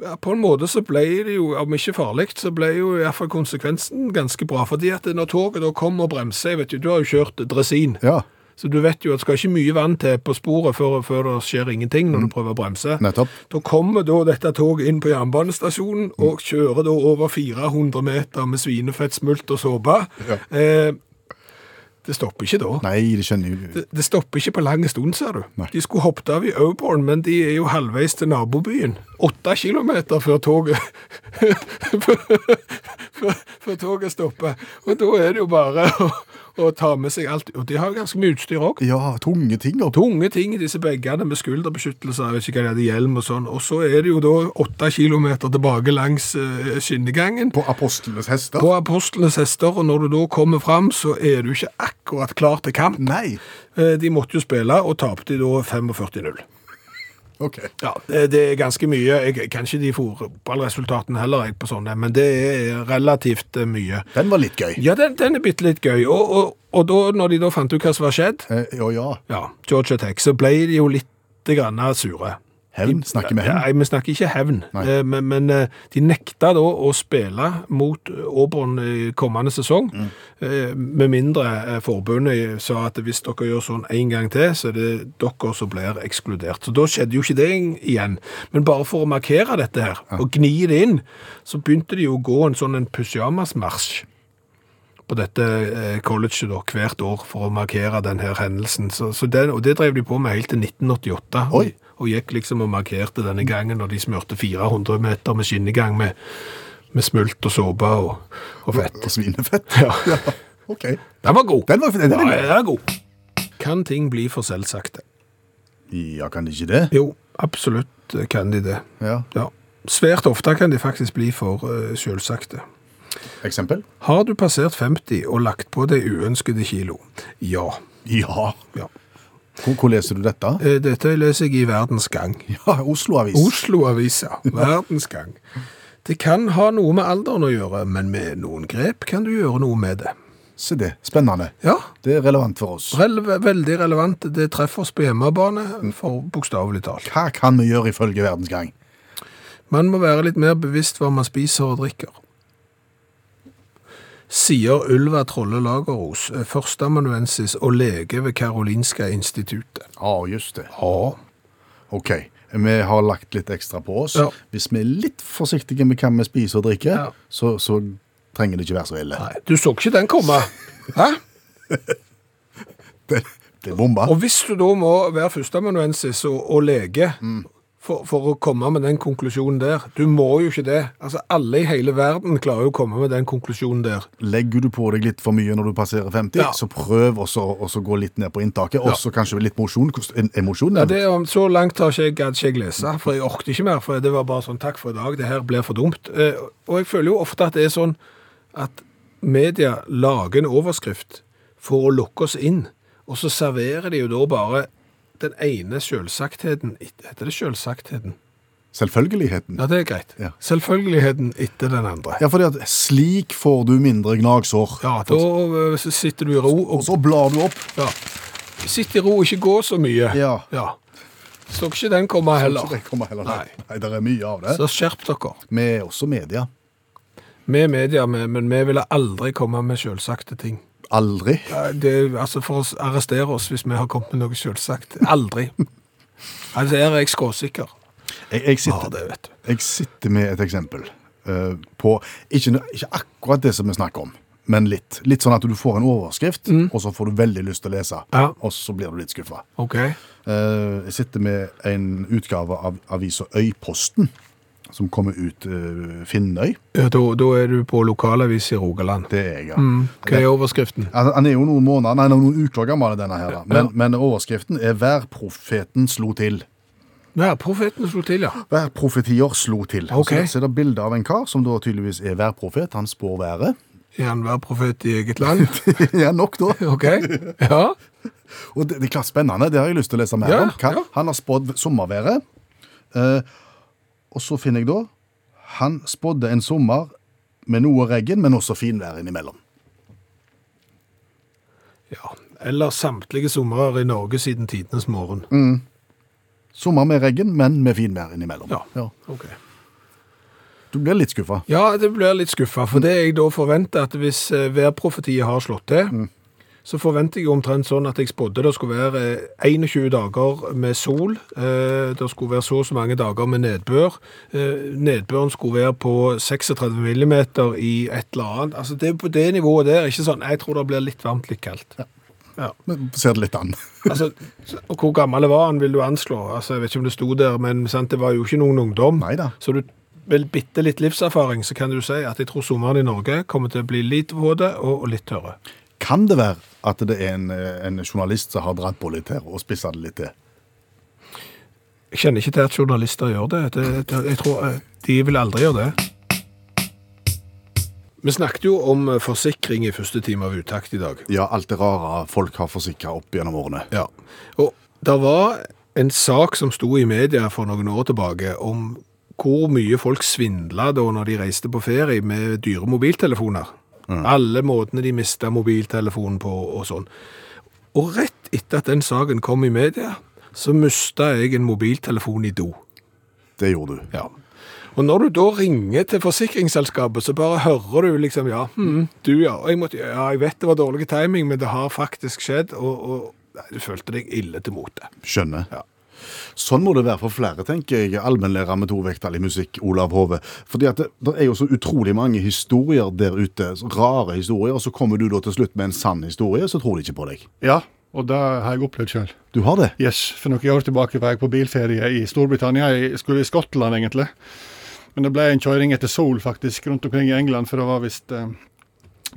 Speaker 2: Ja, på en måte så ble det jo, om ikke farlig, så ble jo i hvert fall konsekvensen ganske bra. Fordi at når toget da kom og bremser, jeg vet jo, du har jo kjørt dresin.
Speaker 3: Ja,
Speaker 2: Så du vet jo at det skal ikke mye vann til på sporet før, før det skjer ingenting når du prøver å bremse.
Speaker 3: Mm. nettopp.
Speaker 2: Da kommer da dette toget inn på jernbanestasjonen
Speaker 3: Mm.
Speaker 2: og kjører da over 400 meter med svinefett, smult og såpe.
Speaker 3: Ja.
Speaker 2: Eh, det stopper ikke da.
Speaker 3: Nei, det skjønner jeg.
Speaker 2: Det, det stopper ikke på lang stund, ser du.
Speaker 3: Nei.
Speaker 2: De skulle hoppet av i Auborn, men de er jo halvveis til nabobyen. åtte kilometer før toget før, før toget stopper. Og da er det jo bare å, å ta med seg alt. Og de har jo ganske mye utstyr òg.
Speaker 3: Ja, tunge ting. Og
Speaker 2: Tunge ting, disse bagene med skulderbeskyttelse, jeg vet ikke hva det er, hjelm og sånn. Og så er det jo da åtte kilometer tilbake langs eh, skinnegangen.
Speaker 3: på apostlenes hester.
Speaker 2: På apostlenes hester, og når du da kommer fram, så er du ikke akkurat klar til kamp.
Speaker 3: Nei.
Speaker 2: Eh, De måtte jo spille, og tapte da 45-0.
Speaker 3: OK.
Speaker 2: Ja, det det er ganske mye. Jeg kan ikke de fotballresultatene heller, jeg, på sånne, men det er relativt eh, mye.
Speaker 3: Den var litt gøy.
Speaker 2: Ja, den, den er bitte litt gøy. Og, og, og da, når de da fant ut hva som var skjedd,
Speaker 3: Eh, ja, ja.
Speaker 2: ja, Georgia Tech, så ble de jo litt grann sure.
Speaker 3: Hevn. Snakker med hevn.
Speaker 2: Nei, vi snakker ikke hevn,
Speaker 3: Nei.
Speaker 2: Eh, men, men eh, de nekta da å spille mot eh, Auburn i kommende sesong,
Speaker 3: Mm.
Speaker 2: eh, med mindre eh, forbundet sa at hvis dere gjør sånn en gang til, så er det dere som blir ekskludert. Så da skjedde jo ikke det igjen. Men bare for å markere dette her, og gni det inn, så begynte de jo å gå en sånn en pyjamasmarsj på dette eh, colleget da, hvert år for å markere denne hendelsen. Så, så den, og det drev de på med helt til 1988.
Speaker 3: Oi.
Speaker 2: Og gikk liksom og markerte denne gangen når de smørte 400 meter med skinnegang med, med smult og såpe og, og fett.
Speaker 3: Og svinefett.
Speaker 2: Ja.
Speaker 3: OK.
Speaker 2: Den var god.
Speaker 3: Den var den er
Speaker 2: ja,
Speaker 3: litt-
Speaker 2: den er god. Kan ting bli for selvsagte?
Speaker 3: Ja, kan de ikke det?
Speaker 2: Jo, absolutt eh, kan de det.
Speaker 3: Ja.
Speaker 2: Ja. Svært ofte kan de faktisk bli for eh, selvsagte.
Speaker 3: Eksempel?
Speaker 2: Har du passert 50 og lagt på deg uønskede kilo? Ja.
Speaker 3: Ja.
Speaker 2: ja.
Speaker 3: Hvor, hvor leser du dette?
Speaker 2: Eh, Dette leser jeg i Verdens Gang.
Speaker 3: Ja, Oslo-avis.
Speaker 2: Oslo-avisa, Verdens Gang. Det kan ha noe med alderen å gjøre, men med noen grep kan du gjøre noe med det.
Speaker 3: Se det. Spennende.
Speaker 2: Ja,
Speaker 3: Det er relevant for oss.
Speaker 2: rele- veldig relevant. Det treffer oss på hjemmebane, for bokstavelig talt.
Speaker 3: Hva kan vi gjøre ifølge Verdens Gang?
Speaker 2: Man må være litt mer bevisst hva man spiser og drikker. Sier Ulva Trolle Lageros, førsteamanuensis og lege ved Karolinska instituttet.
Speaker 3: Ja, just det.
Speaker 2: Ja.
Speaker 3: OK. Vi har lagt litt ekstra på oss.
Speaker 2: Ja.
Speaker 3: Hvis vi er litt forsiktige med hva vi spiser og drikker,
Speaker 2: Ja.
Speaker 3: så, så trenger det ikke være så ille.
Speaker 2: Nei, du så ikke den komme. Hæ?
Speaker 3: Det, det er bomba.
Speaker 2: Og hvis du da må være førsteamanuensis og, og lege for, for å komme med den konklusjonen der Du må jo ikke det. Altså, Alle i hele verden klarer jo å komme med den konklusjonen der.
Speaker 3: Legger du på deg litt for mye når du passerer 50,
Speaker 2: Ja.
Speaker 3: så prøv også også å gå litt ned på inntaket. Og så kanskje litt mosjon. kost- en- en mosjon,
Speaker 2: Ja, det, er- Så langt har ikke jeg, gadd ikke jeg lese, for jeg orket ikke mer. For det var bare sånn Takk for i dag, det her blir for dumt. Eh, og jeg føler jo ofte at det er sånn at media lager en overskrift for å lokke oss inn, og så serverer de jo da bare den ene selvsagtheten et- Heter det selvsagtheten?
Speaker 3: Selvfølgeligheten.
Speaker 2: Ja, det er greit.
Speaker 3: Ja.
Speaker 2: Selvfølgeligheten etter den andre.
Speaker 3: Ja, fordi at slik får du mindre gnagsår.
Speaker 2: Ja, da ø, så sitter du i ro og
Speaker 3: Og så blar du opp.
Speaker 2: ja. Sitt i ro og ikke gå så mye.
Speaker 3: Ja.
Speaker 2: Så ikke den komme
Speaker 3: Så
Speaker 2: heller.
Speaker 3: det kommer heller
Speaker 2: Nei.
Speaker 3: Nei. Nei, det er mye av det.
Speaker 2: Så skjerp dere.
Speaker 3: Vi er også media.
Speaker 2: Vi er media, men men vi ville aldri komme med selvsagte ting.
Speaker 3: Aldri.
Speaker 2: Nei, Det, er- altså For å s- arrestere oss hvis vi har kommet med noe selvsagt. Aldri. Altså, her er jeg skråsikker.
Speaker 3: Jeg, jeg,
Speaker 2: Ja,
Speaker 3: sitter,
Speaker 2: det vet du.
Speaker 3: jeg sitter med et eksempel eh, på ikke, nø- ikke akkurat det som vi snakker om, men litt. Litt sånn at du får en overskrift, og så får du veldig lyst til å lese,
Speaker 2: Mm. Ja.
Speaker 3: og så blir du litt skuffa.
Speaker 2: OK.
Speaker 3: Eh, Jeg sitter med en utgave av avisa Øyposten, som kommer ut eh, Finnøy.
Speaker 2: Ja, da, da er du på lokalavis i Rogaland.
Speaker 3: Det er jeg, ja.
Speaker 2: Hva er overskriften?
Speaker 3: Han han er jo noen måneder, nei, noen uker gammel, denne her. da. Men, men overskriften er 'Værprofeten slo til'.
Speaker 2: Ja, profeten slo til, ja.
Speaker 3: Værprofetier slo til.
Speaker 2: Ok.
Speaker 3: Så, så er det bilde av en kar som da tydeligvis er værprofet. Han spår været.
Speaker 2: Er han hver profet i eget land?
Speaker 3: ja, nok da.
Speaker 2: OK. Ja.
Speaker 3: Og det, det er klart spennende, det har jeg lyst til å lese mer
Speaker 2: Ja,
Speaker 3: om. Hva,
Speaker 2: ja.
Speaker 3: Han har spådd sommerværet. Eh, og så finner jeg da Han spådde en sommer med noe regn, men også finvær innimellom.
Speaker 2: Ja, eller samtlige sommerer i Norge siden tidenes morgen.
Speaker 3: Sommer med regn, men med finvær innimellom.
Speaker 2: Ja. Ok.
Speaker 3: Du blir litt skuffa.
Speaker 2: Ja, det blir jeg litt skuffa, for det jeg da forventer at hvis eh, værprofetiet har slått til, så forventer jeg omtrent sånn at jeg spådde det skulle være eh, 21 dager med sol, eh, det skulle være så og så mange dager med nedbør, eh, nedbøren skulle være på 36 millimeter i et eller annet. Altså det er på det nivået der, ikke sånn, jeg tror det blir litt varmt, litt kaldt. Ja.
Speaker 3: Men ser det litt an.
Speaker 2: Altså, og hvor gammel var han, vil du anslå? Altså, jeg vet ikke om det sto der, men sant, det var jo ikke noen ungdom.
Speaker 3: Nei da.
Speaker 2: Så du vel bitte litt livserfaring, så kan du si at jeg tror sommeren i Norge kommer til å bli litt våte og og litt tørre.
Speaker 3: Kan det være at det er en, eh, en journalist som har dratt på litt her og spissa det litt til?
Speaker 2: Jeg kjenner ikke til at journalister gjør det. det, det jeg tror eh, De vil aldri gjøre det. Vi snakket jo om eh, forsikring i første time av Utakt i dag.
Speaker 3: Ja, alt det rare folk har forsikra opp gjennom årene.
Speaker 2: Ja. Og det var en sak som sto i media for noen år tilbake om hvor mye folk svindla da når de reiste på ferie med dyre mobiltelefoner. Alle måtene de mista mobiltelefonen på og sånn. Og rett etter at den saken kom i media, så mista jeg en mobiltelefon i do.
Speaker 3: Det gjorde du.
Speaker 2: Ja. Og når du da ringer til forsikringsselskapet, så bare hører du liksom Ja, hm, du ja. Og jeg måtte, ja, jeg vet det var dårlig timing, men det har faktisk skjedd. Og, og nei, du følte deg ille til mote.
Speaker 3: Skjønner.
Speaker 2: Ja.
Speaker 3: Sånn må det være for flere, tenker jeg, allmennlærer med to vekttall i musikk, Olav Hove. Fordi at det, det er jo så utrolig mange historier der ute, så rare historier, og så kommer du da til slutt med en sann historie, så tror de ikke på deg.
Speaker 7: Ja, og det har jeg opplevd sjøl.
Speaker 3: Du har det?
Speaker 7: Yes, for noen år tilbake var jeg på bilferie i Storbritannia. Jeg skulle i Skottland, egentlig. Men det ble en kjøring etter sol, faktisk, rundt omkring i England, for det var visst eh,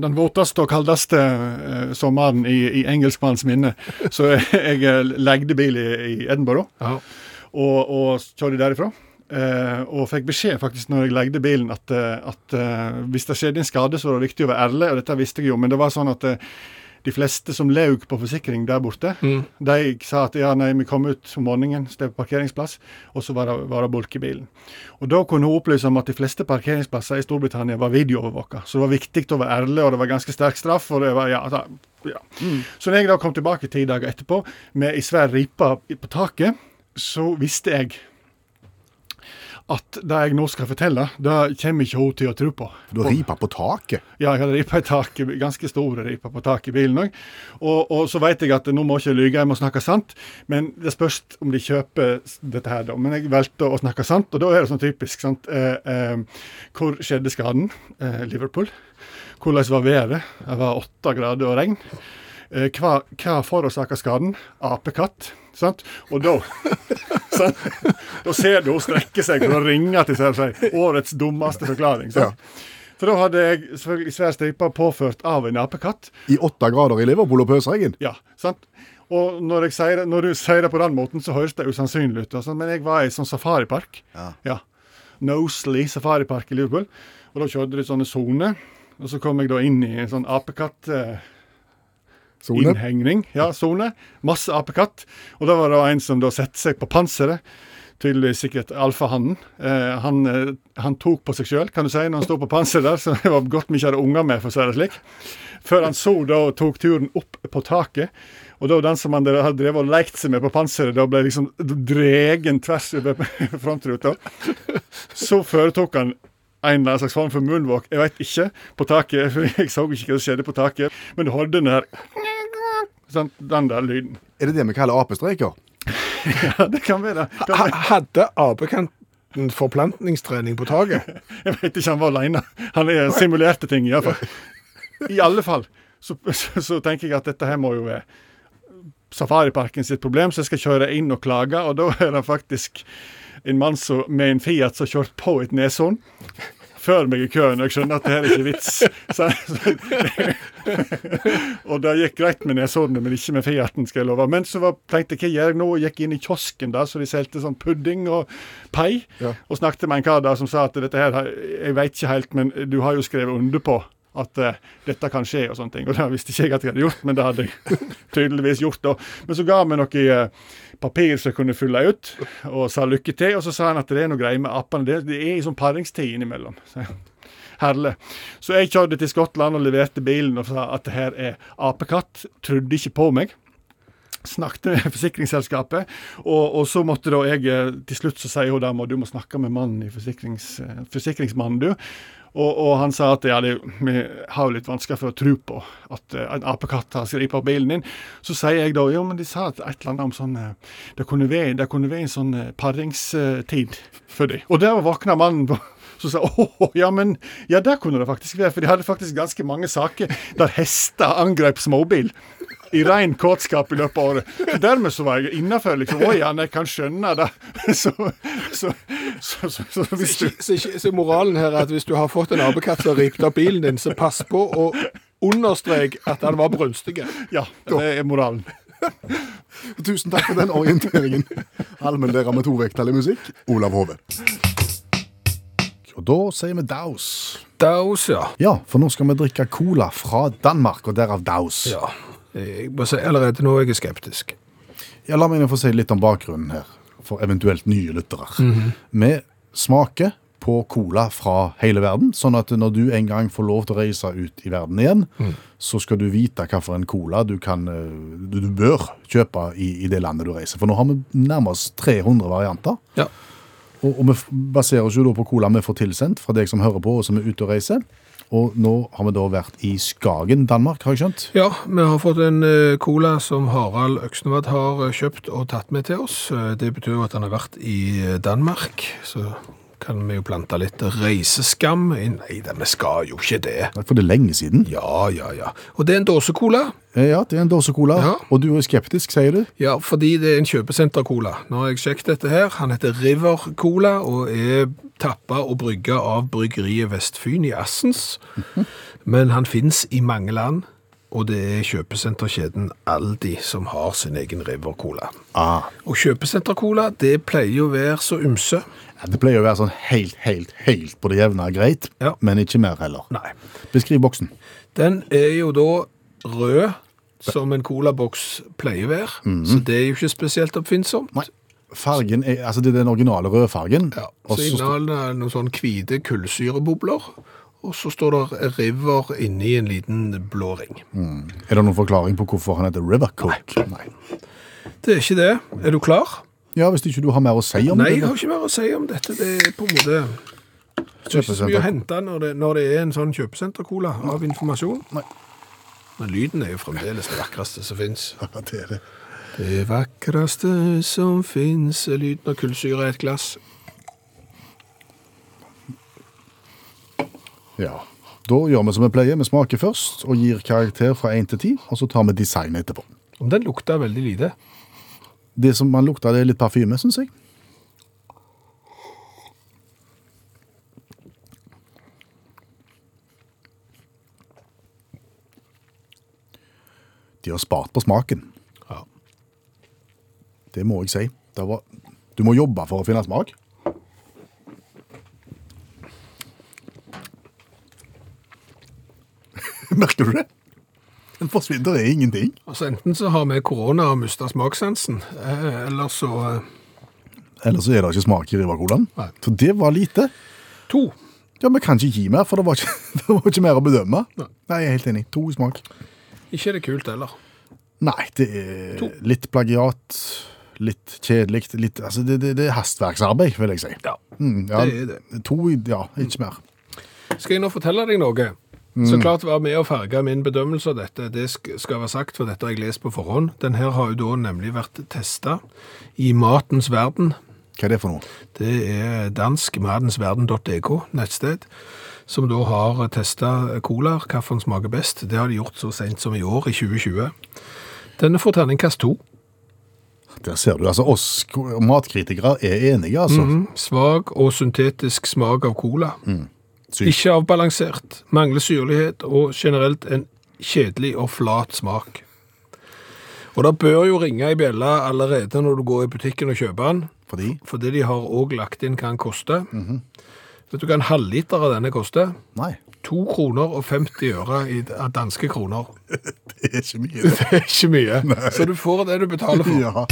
Speaker 7: den våteste og kaldeste eh, sommeren i, i engelskmanns minne. Så jeg, jeg legde bil i, i Edinburgh
Speaker 2: Ja.
Speaker 7: og, og kjørte derifra. Eh, og fikk beskjed faktisk når jeg legde bilen at, eh, at eh, hvis det skjedde en skade, så var det viktig å være ærlig, og dette visste jeg jo, men det var sånn at eh, de fleste som laug på forsikring der borte, de sa at ja, nei, vi kom ut om morgenen, steg på parkeringsplass, og så var det, var det bulk i bilen. Og da kunne hun opplyse om at de fleste parkeringsplasser i Storbritannia var videoovervåka, så det var viktig å være ærlig, og det var ganske sterk straff, og det var ja, da, ja. Så når jeg da kom tilbake ti dager etterpå med ei svær ripe i- på taket, så visste jeg at det jeg nå skal fortelle, det kommer ikke hun til å tro på.
Speaker 3: Du har ripa på taket.
Speaker 7: Ja, jeg hadde ripa i taket, ganske store riper på taket i bilen òg. Og, og så vet jeg at nå må jeg ikke lyge, jeg må snakke sant. Men det spørs om de kjøper s- dette her, da. Men jeg valgte å snakke sant, og da er det sånn typisk, sant. Eh, eh, hvor skjedde skaden? Eh, Liverpool. Hvordan var været? Det var åtte grader og regn. Eh, hva hva forårsaka skaden? Apekatt. Sant? Og da sant? Da ser du hun strekker seg for å ringe til seg og si 'årets dummeste forklaring'. Sant? For da hadde jeg selvfølgelig svær stripe påført av en apekatt.
Speaker 3: I åtte grader i Liverpool og pøsregn.
Speaker 7: Ja, sant? Og når, jeg sier, det- når du sier det på den måten, så høres det usannsynlig ut. og sånn, Men jeg var i sånn safaripark. Ja. Nosley safaripark i Liverpool. Og da kjørte de sånne soner. Og så kom jeg da inn i en sånn apekatt-innhegning.
Speaker 3: Sone.
Speaker 7: ja, sone. Masse apekatt. Og da var det en som da satte seg på panseret. Tydeligvis sikkert alfahannen. Eh, han, eh, han tok på seg sjøl, kan du si, når han sto på panseret der. Så det var godt vi ikke hadde unger med, for å si det slik. Før han så da og tok turen opp på taket. Og da den som han drev- hadde drevet og lekt seg med på panseret, da ble liksom dregen tvers over frontruta. Så foretok han en eller annen slags form for moonwalk, jeg veit ikke, på taket. for Jeg så ikke hva som skjedde på taket, men du hørte den der sant, Den der lyden.
Speaker 3: Er det det vi kaller apestreker?
Speaker 7: Ja, det kan være. Det kan
Speaker 2: Ha-
Speaker 7: være.
Speaker 2: Hadde apekanten forplantningstrening på taket?
Speaker 7: Jeg vet ikke, han var aleine. Han eh, simulerte ting, iallfall. I alle fall så, så, så tenker jeg at dette her må jo være Safariparken sitt problem, så jeg skal kjøre inn og klage. Og da er det faktisk en mann som, med en Fiat som har kjørt på et Neshorn før meg i køen. og Jeg skjønner at det her er ikke vits. Så, så, og det gikk greit med neshornet, men ikke med Fiaten, skal jeg love. Men så var, tenkte jeg hva gjør jeg nå? Jeg gikk inn i kiosken der, så de solgte sånn pudding og pai. Og snakket med en kar der som sa at dette her, har- jeg veit ikke helt, men du har jo skrevet under på at eh, dette kan skje og sånne ting. Og det visste ikke jeg at jeg hadde gjort, men det hadde jeg tydeligvis gjort da. Men så ga han meg noe eh, papir som jeg kunne fylle ut, og sa lykke til. Og så sa han at det er noe greier med appene. Det, det er i sånn paringstid innimellom. Så jeg, Herlig. Så jeg kjørte til Skottland og leverte bilen og sa at det her er apekatt. Trodde ikke på meg. Snakket med forsikringsselskapet, og, og så måtte da jeg eh, Til slutt så sier hun da må du må snakke med mannen i forsikrings, eh, forsikringsmannen, du. Og, og han sa at ja, det, vi har jo litt vanskelig for å tro på at eh, en apekatt har skripet opp bilen din. Så sier jeg da jo, men de sa at et eller annet om sånn eh, Det kunne være, det kunne være en sånn eh, paringstid for dem. Og der våkna mannen på så sa jeg åh, ja, men ja, der kunne det faktisk være. For de hadde faktisk ganske mange saker der hester angrep småbil. i ren kåtskap i løpet av året. Så dermed så var jeg innafor. Liksom, Oi, han jeg kan skjønne det. Så, så, så, så, så hvis du
Speaker 2: Så, ikke- så moralen her er at hvis du har fått en apekatt som har ript opp bilen din, så pass på å understreke at han var brunstig.
Speaker 7: Ja, det er moralen.
Speaker 3: Tusen takk for den orienteringen. Allmennlærer med tovektig musikk, Olav Hove. Og da sier vi daus.
Speaker 2: Daus, ja.
Speaker 3: Ja, for nå skal vi drikke cola fra Danmark, og derav daus. Ja.
Speaker 2: Ja. Jeg må si allerede nå er jeg skeptisk.
Speaker 3: la meg nå få si litt om bakgrunnen her, for eventuelt nye lyttere. Vi smaker på cola fra hele verden, sånn at når du en gang får lov til å reise ut i verden igjen, så skal du vite hva for en cola du, kan, eh, du, du bør kjøpe i, i det landet du reiser. For nå har vi nærmest 300 varianter.
Speaker 2: Ja.
Speaker 3: Og, og vi f- baserer oss jo da på cola vi får tilsendt fra deg som hører på og som er ute og reiser. Og nå har vi da vært i Skagen, Danmark, har jeg skjønt.
Speaker 2: Ja, vi har fått en eh, cola som Harald Øksnevad har eh, kjøpt og tatt med til oss. Eh, Det betyr jo at han har vært i eh, Danmark, så kan vi jo plante litt reiseskam. inn. Nei, den, vi skal jo ikke det.
Speaker 3: Nei, For det er lenge siden.
Speaker 2: Ja, ja, ja. Og det er en dåsecola.
Speaker 3: Eh, Ja, det er en dåse cola.
Speaker 2: Ja.
Speaker 3: Og du er skeptisk, sier du?
Speaker 2: Ja, fordi det er en kjøpesentercola. Nå har jeg sjekket dette her. Han heter River Cola og er tappa og brygga av bryggeriet Vestfyn i Assens. Men han fins i mange land, og det er kjøpesenterkjeden Aldi som har sin egen River Cola.
Speaker 3: Ah.
Speaker 2: Og kjøpesentercola, det pleier jo å være så ymse.
Speaker 3: Ja, Det pleier å være sånn helt, helt, helt på det jevne greit,
Speaker 2: Ja.
Speaker 3: men ikke mer heller.
Speaker 2: Nei.
Speaker 3: Beskriv boksen.
Speaker 2: Den er jo da rød, som en colaboks pleier å være. Så det er jo ikke spesielt oppfinnsomt.
Speaker 3: Nei. Fargen er, altså det er den originale rødfargen.
Speaker 2: Ja,
Speaker 3: og
Speaker 2: så
Speaker 3: så står-
Speaker 2: inneholder det noen sånn hvite kullsyrebobler, og så står det River inni en liten blå ring.
Speaker 3: er det noen forklaring på hvorfor han heter River Coke? Nei.
Speaker 2: Det er ikke det. Er du klar?
Speaker 3: Ja, Hvis ikke du har mer å si om
Speaker 2: Nei,
Speaker 3: det?
Speaker 2: jeg
Speaker 3: da.
Speaker 2: har ikke mer å si om dette. Det er på en måte det er ikke så mye å
Speaker 3: Kjøpesenter.
Speaker 2: hente når det, når det er en sånn kjøpesenter-cola av informasjon.
Speaker 3: Nei.
Speaker 2: Men lyden er jo fremdeles det vakreste som fins.
Speaker 3: Ja, det er det.
Speaker 2: Det vakreste som fins, er lyden av kullsyre i et glass.
Speaker 3: Ja. Da gjør vi som vi pleier. Vi smaker først og gir karakter fra 1 til 10, og så tar vi design etterpå.
Speaker 2: Om den lukter veldig lite.
Speaker 3: Det som man lukter, det er litt parfyme, syns jeg. De har spart på smaken.
Speaker 2: Ja.
Speaker 3: Det må jeg si. Det var, du må jobbe for å finne smak. Merker du det? Den forsvinner i ingenting.
Speaker 2: Altså Enten så har vi korona og mista smakssansen, eh, eller så eh,
Speaker 3: Ellers så er det ikke smak i Riva-colaen.
Speaker 2: Nei.
Speaker 3: Så det var lite.
Speaker 2: To.
Speaker 3: Ja, Vi kan ikke gi mer, for det var ikke, det var ikke mer å bedømme.
Speaker 2: Nei.
Speaker 3: jeg er helt enig. To i smak.
Speaker 2: Ikke er det kult heller.
Speaker 3: Nei, det er
Speaker 2: To.
Speaker 3: litt plagiat, litt kjedelig litt, altså det, det, det er hastverksarbeid, vil jeg si.
Speaker 2: Ja.
Speaker 3: Mm, ja,
Speaker 2: Det er det.
Speaker 3: To, i- ja, ikke mer.
Speaker 2: Skal jeg nå fortelle deg noe? Så klart var med og farge min bedømmelse av dette. Det sk- skal være sagt, for dette har jeg lest på forhånd. Den her har jo da nemlig vært testa i Matens verden.
Speaker 3: Hva er det for noe?
Speaker 2: Det er danskmatensverden.dk, nettsted, som da har testa colaer, hvilken smaker best. Det har de gjort så sent som i år, i 2020. Denne får terningkast to.
Speaker 3: Der ser du, altså oss ko- matkritikere er enige, altså.
Speaker 2: Mm, Svak og syntetisk smak av cola.
Speaker 3: Mm. Sykt.
Speaker 2: Ikke avbalansert, mangler syrlighet og generelt en kjedelig og flat smak. Og det bør jo ringe i bjella allerede når du går i butikken og kjøper den,
Speaker 3: Fordi Mhm.
Speaker 2: fordi de har òg lagt inn hva den koster. Vet du hva en halvliter av denne koster?
Speaker 3: Nei,
Speaker 2: To kroner og 50 øre i av danske kroner.
Speaker 3: det er ikke mye.
Speaker 2: Det er ikke mye. Så du får det du betaler for.
Speaker 3: ja.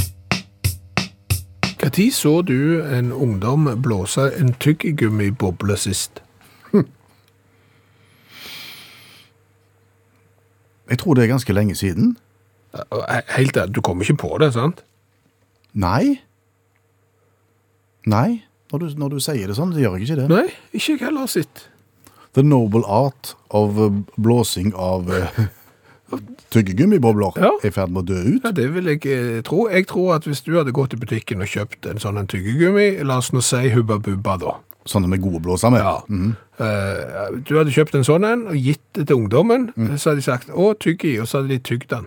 Speaker 2: Når så du en ungdom blåse en tyggegummiboble sist?
Speaker 3: Jeg tror det er ganske lenge siden.
Speaker 2: Eh, Helt ærlig, du kommer ikke på det, sant?
Speaker 3: Nei. Nei. Når du, når du sier det sånn, så gjør jeg ikke det.
Speaker 2: Nei, ikke jeg heller sitt.
Speaker 3: The noble art of eh, blåsing av eh, tyggegummibobler
Speaker 2: Ja.
Speaker 3: er i ferd med å dø ut.
Speaker 2: Ja, det vil jeg eh, tro. Jeg tror at hvis du hadde gått i butikken og kjøpt en sånn en tyggegummi, la oss nå si Hubba Bubba da.
Speaker 3: Sånne med gode blåser med.
Speaker 2: Ja. Eh, du
Speaker 3: Mhm.
Speaker 2: hadde kjøpt en sånn en og gitt det til ungdommen, så hadde de sagt 'å, tygg i', og så hadde de tygd den.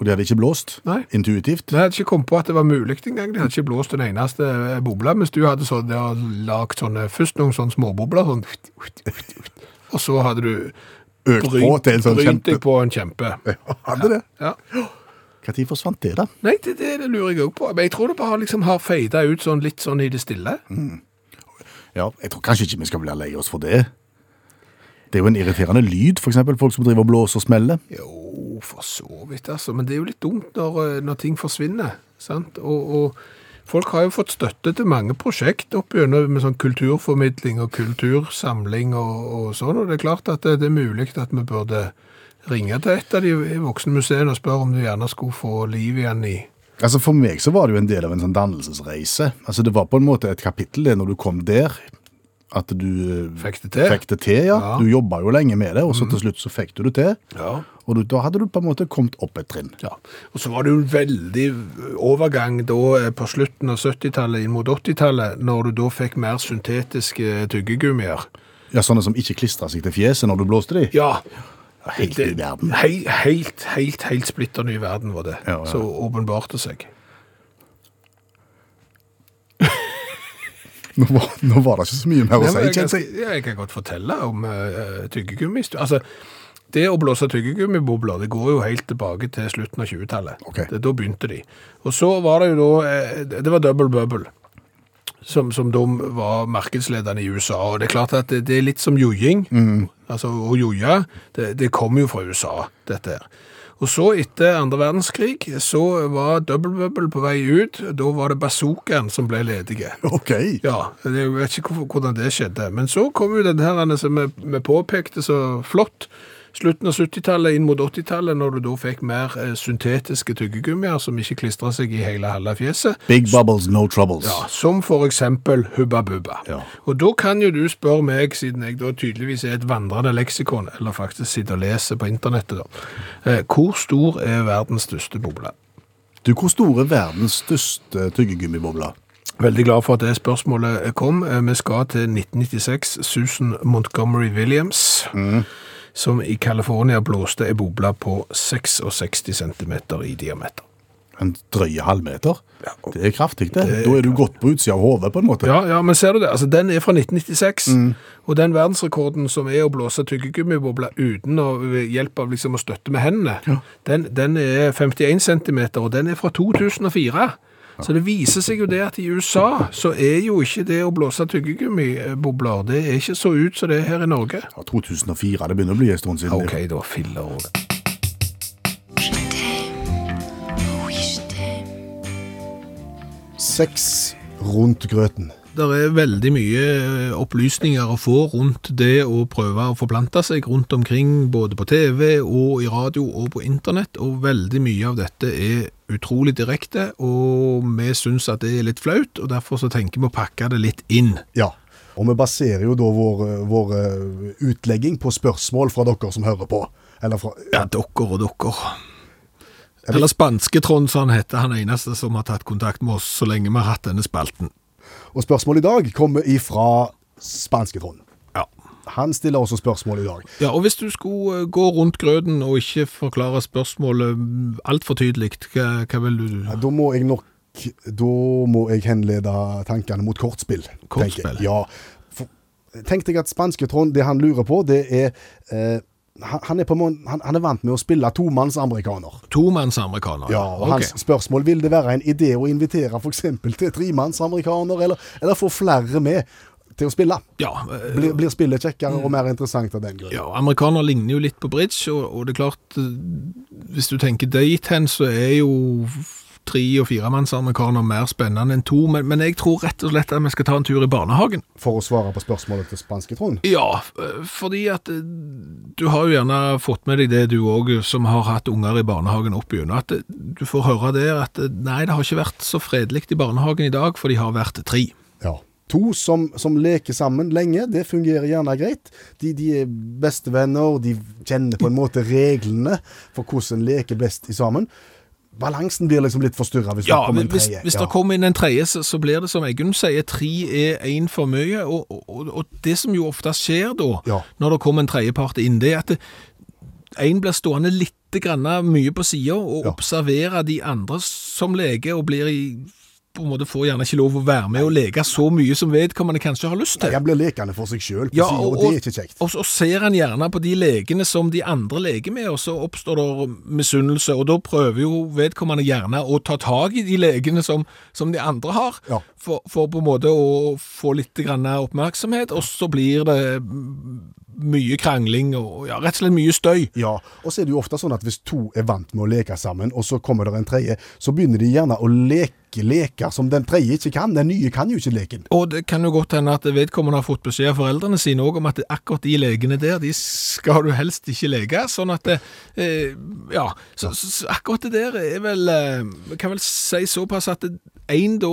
Speaker 3: Og de hadde ikke blåst
Speaker 2: Nei.
Speaker 3: intuitivt.
Speaker 2: Jeg hadde ikke kommet på at det var mulig engang. De hadde ikke blåst en eneste eh, boble. Mens du hadde sånn, ja, lagd sånne, først noen sånne småbobler, sånn, og så hadde du
Speaker 3: Økt på til en sånn
Speaker 2: brynt
Speaker 3: kjempe...
Speaker 2: deg på en kjempe.
Speaker 3: Hadde det?
Speaker 2: Ja.
Speaker 3: Når forsvant det, da?
Speaker 2: Nei, det, det, det lurer jeg òg på. Men jeg tror det bare liksom har feida ut sånn litt sånn i det stille.
Speaker 3: Ja, Jeg tror kanskje ikke vi skal bli lei oss for det. Det er jo en irriterende lyd, f.eks. Folk som driver og blåser og smeller.
Speaker 2: Jo, for så vidt, altså. Men det er jo litt dumt når, eh, når ting forsvinner. sant? Og, og folk har jo fått støtte til mange prosjekt opp gjennom med sånn kulturformidling og kultursamling og, og sånn. Og det er klart at det, det er mulig at vi burde ringe til et av de voksenmuseene og spørre om du gjerne skulle få liv igjen i
Speaker 3: Altså For meg så var det jo en del av en sånn dannelsesreise. Altså Det var på en måte et kapittel det når du kom der, at du eh,
Speaker 2: Fikk det til.
Speaker 3: Fikk det til, ja.
Speaker 2: Ja. Mhm.
Speaker 3: Du jobba jo lenge med det, og så til slutt så fikk du det til.
Speaker 2: Ja.
Speaker 3: Og du, da hadde du på en måte kommet opp et trinn.
Speaker 2: Ja, og så var det jo en veldig overgang da eh, på slutten av 70-tallet inn mot 80-tallet, når du da fikk mer syntetiske tyggegummier.
Speaker 3: Ja, Sånne som ikke klistra seg til fjeset når du blåste de.
Speaker 2: Ja,
Speaker 3: Helt i verden.
Speaker 2: Hei, helt, helt, helt splitter ny verden var det.
Speaker 3: Ja, ja.
Speaker 2: Så åpenbarte seg.
Speaker 3: Nå var, nå var det ikke så mye mer å
Speaker 2: Nei,
Speaker 3: si.
Speaker 2: men jeg,
Speaker 3: kjente
Speaker 2: kan,
Speaker 3: jeg.
Speaker 2: ja, jeg kan godt fortelle om uh, tyggegummi. Altså, det å blåse tyggegummibobler, det går jo helt tilbake til slutten av 20-tallet.
Speaker 3: Ok.
Speaker 2: Det- Da begynte de. Og så var det jo da, eh, det var Double Bubble, som, som de var markedsledende i USA. Og det er klart at det, det er litt som jojing. Altså, å joje, det, det kommer jo fra USA, dette her. Og så etter andre verdenskrig, så var Double Bubble på vei ut. Da var det bazookaen som ble ledige.
Speaker 3: OK.
Speaker 2: Ja, jeg vet ikke hvorfor, hvordan det skjedde. Men så kom jo denne her, som vi, vi påpekte så flott, slutten av 70-tallet inn mot 80-tallet, når du da fikk mer eh, syntetiske tyggegummier som ikke klistret seg i hele halve fjeset.
Speaker 3: Big bubbles, no troubles.
Speaker 2: Ja, som for eksempel Hubba Bubba.
Speaker 3: Ja.
Speaker 2: Og da kan jo du spørre meg, siden jeg da tydeligvis er et vandrende leksikon, eller faktisk sitter og leser på internettet da, eh, hvor stor er verdens største boble?
Speaker 3: Du, hvor store er verdens største tyggegummibobler?
Speaker 2: Veldig glad for at det spørsmålet kom. Eh, Vi skal til 1996. Susan Montgomery Williams, som i California blåste ei boble på 66 cm i diameter.
Speaker 3: En drøye halvmeter? Det er kraftig, det. Da er du godt på utsida av hodet, på en måte.
Speaker 2: Ja, ja, men ser du det? Altså, den er fra 1996, og den verdensrekorden som er å blåse tyggegummibobler uten å, ved hjelp av liksom å støtte med hendene, den, den er 51 cm, og den er fra 2004. Så det viser seg jo det at i USA så er jo ikke det å blåse tyggegummibobler, det er ikke så ut som det er her i Norge.
Speaker 3: Ja, 2004, det begynner å bli en stund siden.
Speaker 2: Ok, da, filler.
Speaker 8: Seks rundt grøten.
Speaker 2: Det er veldig mye eh, opplysninger å få rundt det å prøve å forplante seg rundt omkring, både på TV og i radio og på internett, og veldig mye av dette er utrolig direkte, og vi syns at det er litt flaut, og derfor så tenker vi å pakke det litt inn.
Speaker 8: Ja. Og vi baserer jo da vår, vår eh, utlegging på spørsmål fra dere som hører på. Eller fra
Speaker 2: Ja, dokker og dokker. Eller Spanske-Trond, som han heter, han er eneste som har tatt kontakt med oss så lenge vi har hatt denne spalten.
Speaker 8: Og spørsmålet i dag kommer ifra spansketronen.
Speaker 2: Ja.
Speaker 8: Han stiller også spørsmål i dag.
Speaker 2: Ja, og hvis du skulle eh, gå rundt grøten og ikke forklare spørsmålet mm, altfor tydelig, hva, hva vil du
Speaker 8: Ja, Da må jeg nok Da må jeg henlede tankene mot kortspill. tenker jeg.
Speaker 2: Kortspill?
Speaker 8: Ja. For, tenk deg at spansketronen, det han lurer på, det er eh, han, han, er på, mån- han, han er vant med å spille tomannsamerikaner.
Speaker 2: Tomannsamerikaner?
Speaker 8: Ja, og hans spørsmål vil det være en idé å invitere f.eks. til tremannsamerikaner, eller, eller få flere med til å spille.
Speaker 2: ja, eh,
Speaker 8: Blir, blir spillet kjekkere og mer interessant av den grunn.
Speaker 2: ja, amerikaner ligner jo litt på bridge, og, og det er klart eh, Hvis du tenker dit hen, så er jo tre- og firemannsamerikaner mer spennende enn to, men, men jeg tror rett og slett at vi skal ta en tur i barnehagen.
Speaker 8: For å svare på spørsmålet til spanske Trond.
Speaker 2: Ja, eh, fordi at eh, du har jo gjerne fått med deg det du òg, som har hatt unger i barnehagen opp igjennom, at eh, du får høre der at eh, nei, det har ikke vært så fredelig i barnehagen i dag, for de har vært tre.
Speaker 8: Ja. To som, som leker sammen lenge, det fungerer gjerne greit. De, de er bestevenner, de kjenner på en måte reglene for hvordan en leker best i sammen. Balansen blir liksom litt forstyrra hvis
Speaker 2: Ja,
Speaker 8: det kommer
Speaker 2: men
Speaker 8: en
Speaker 2: hvis,
Speaker 8: tredje.
Speaker 2: hvis
Speaker 8: Ja.
Speaker 2: det kommer inn en tredje, så, så blir det som Eggen sier, tre er én for mye. Og, og, og det som jo ofte skjer da,
Speaker 8: Ja.
Speaker 2: når det kommer en tredjepart inn, det er at det- en blir stående litt
Speaker 8: grann mye på sida og
Speaker 3: Ja.
Speaker 8: observerer de andre som leker, og blir i på en måte får gjerne ikke lov å være med og leke så mye som vedkommende kanskje har lyst til.
Speaker 3: Jeg blir lekende for seg sjøl, ja, og, det er ikke kjekt.
Speaker 8: Og så ser en gjerne på de legene som de andre leker med, og så oppstår det misunnelse. Og da prøver jo vedkommende gjerne å ta tak i de legene som, som de andre har,
Speaker 3: Ja.
Speaker 8: for, for på en måte å få litt grann oppmerksomhet, og så blir det mye krangling og ja, rett og slett mye støy.
Speaker 3: Ja, og så er det jo ofte sånn at hvis to er vant med å leke sammen, og så kommer det en tredje, så begynner de gjerne å leke leker som den tredje ikke kan. Den nye kan jo ikke leken.
Speaker 8: Og det kan jo godt hende at vedkommende har fått beskjed av foreldrene sine òg om at akkurat de legene der, de skal du helst ikke leke. Sånn at eh, Ja. Så, så, så akkurat det der er vel eh, jeg Kan vel si såpass at én da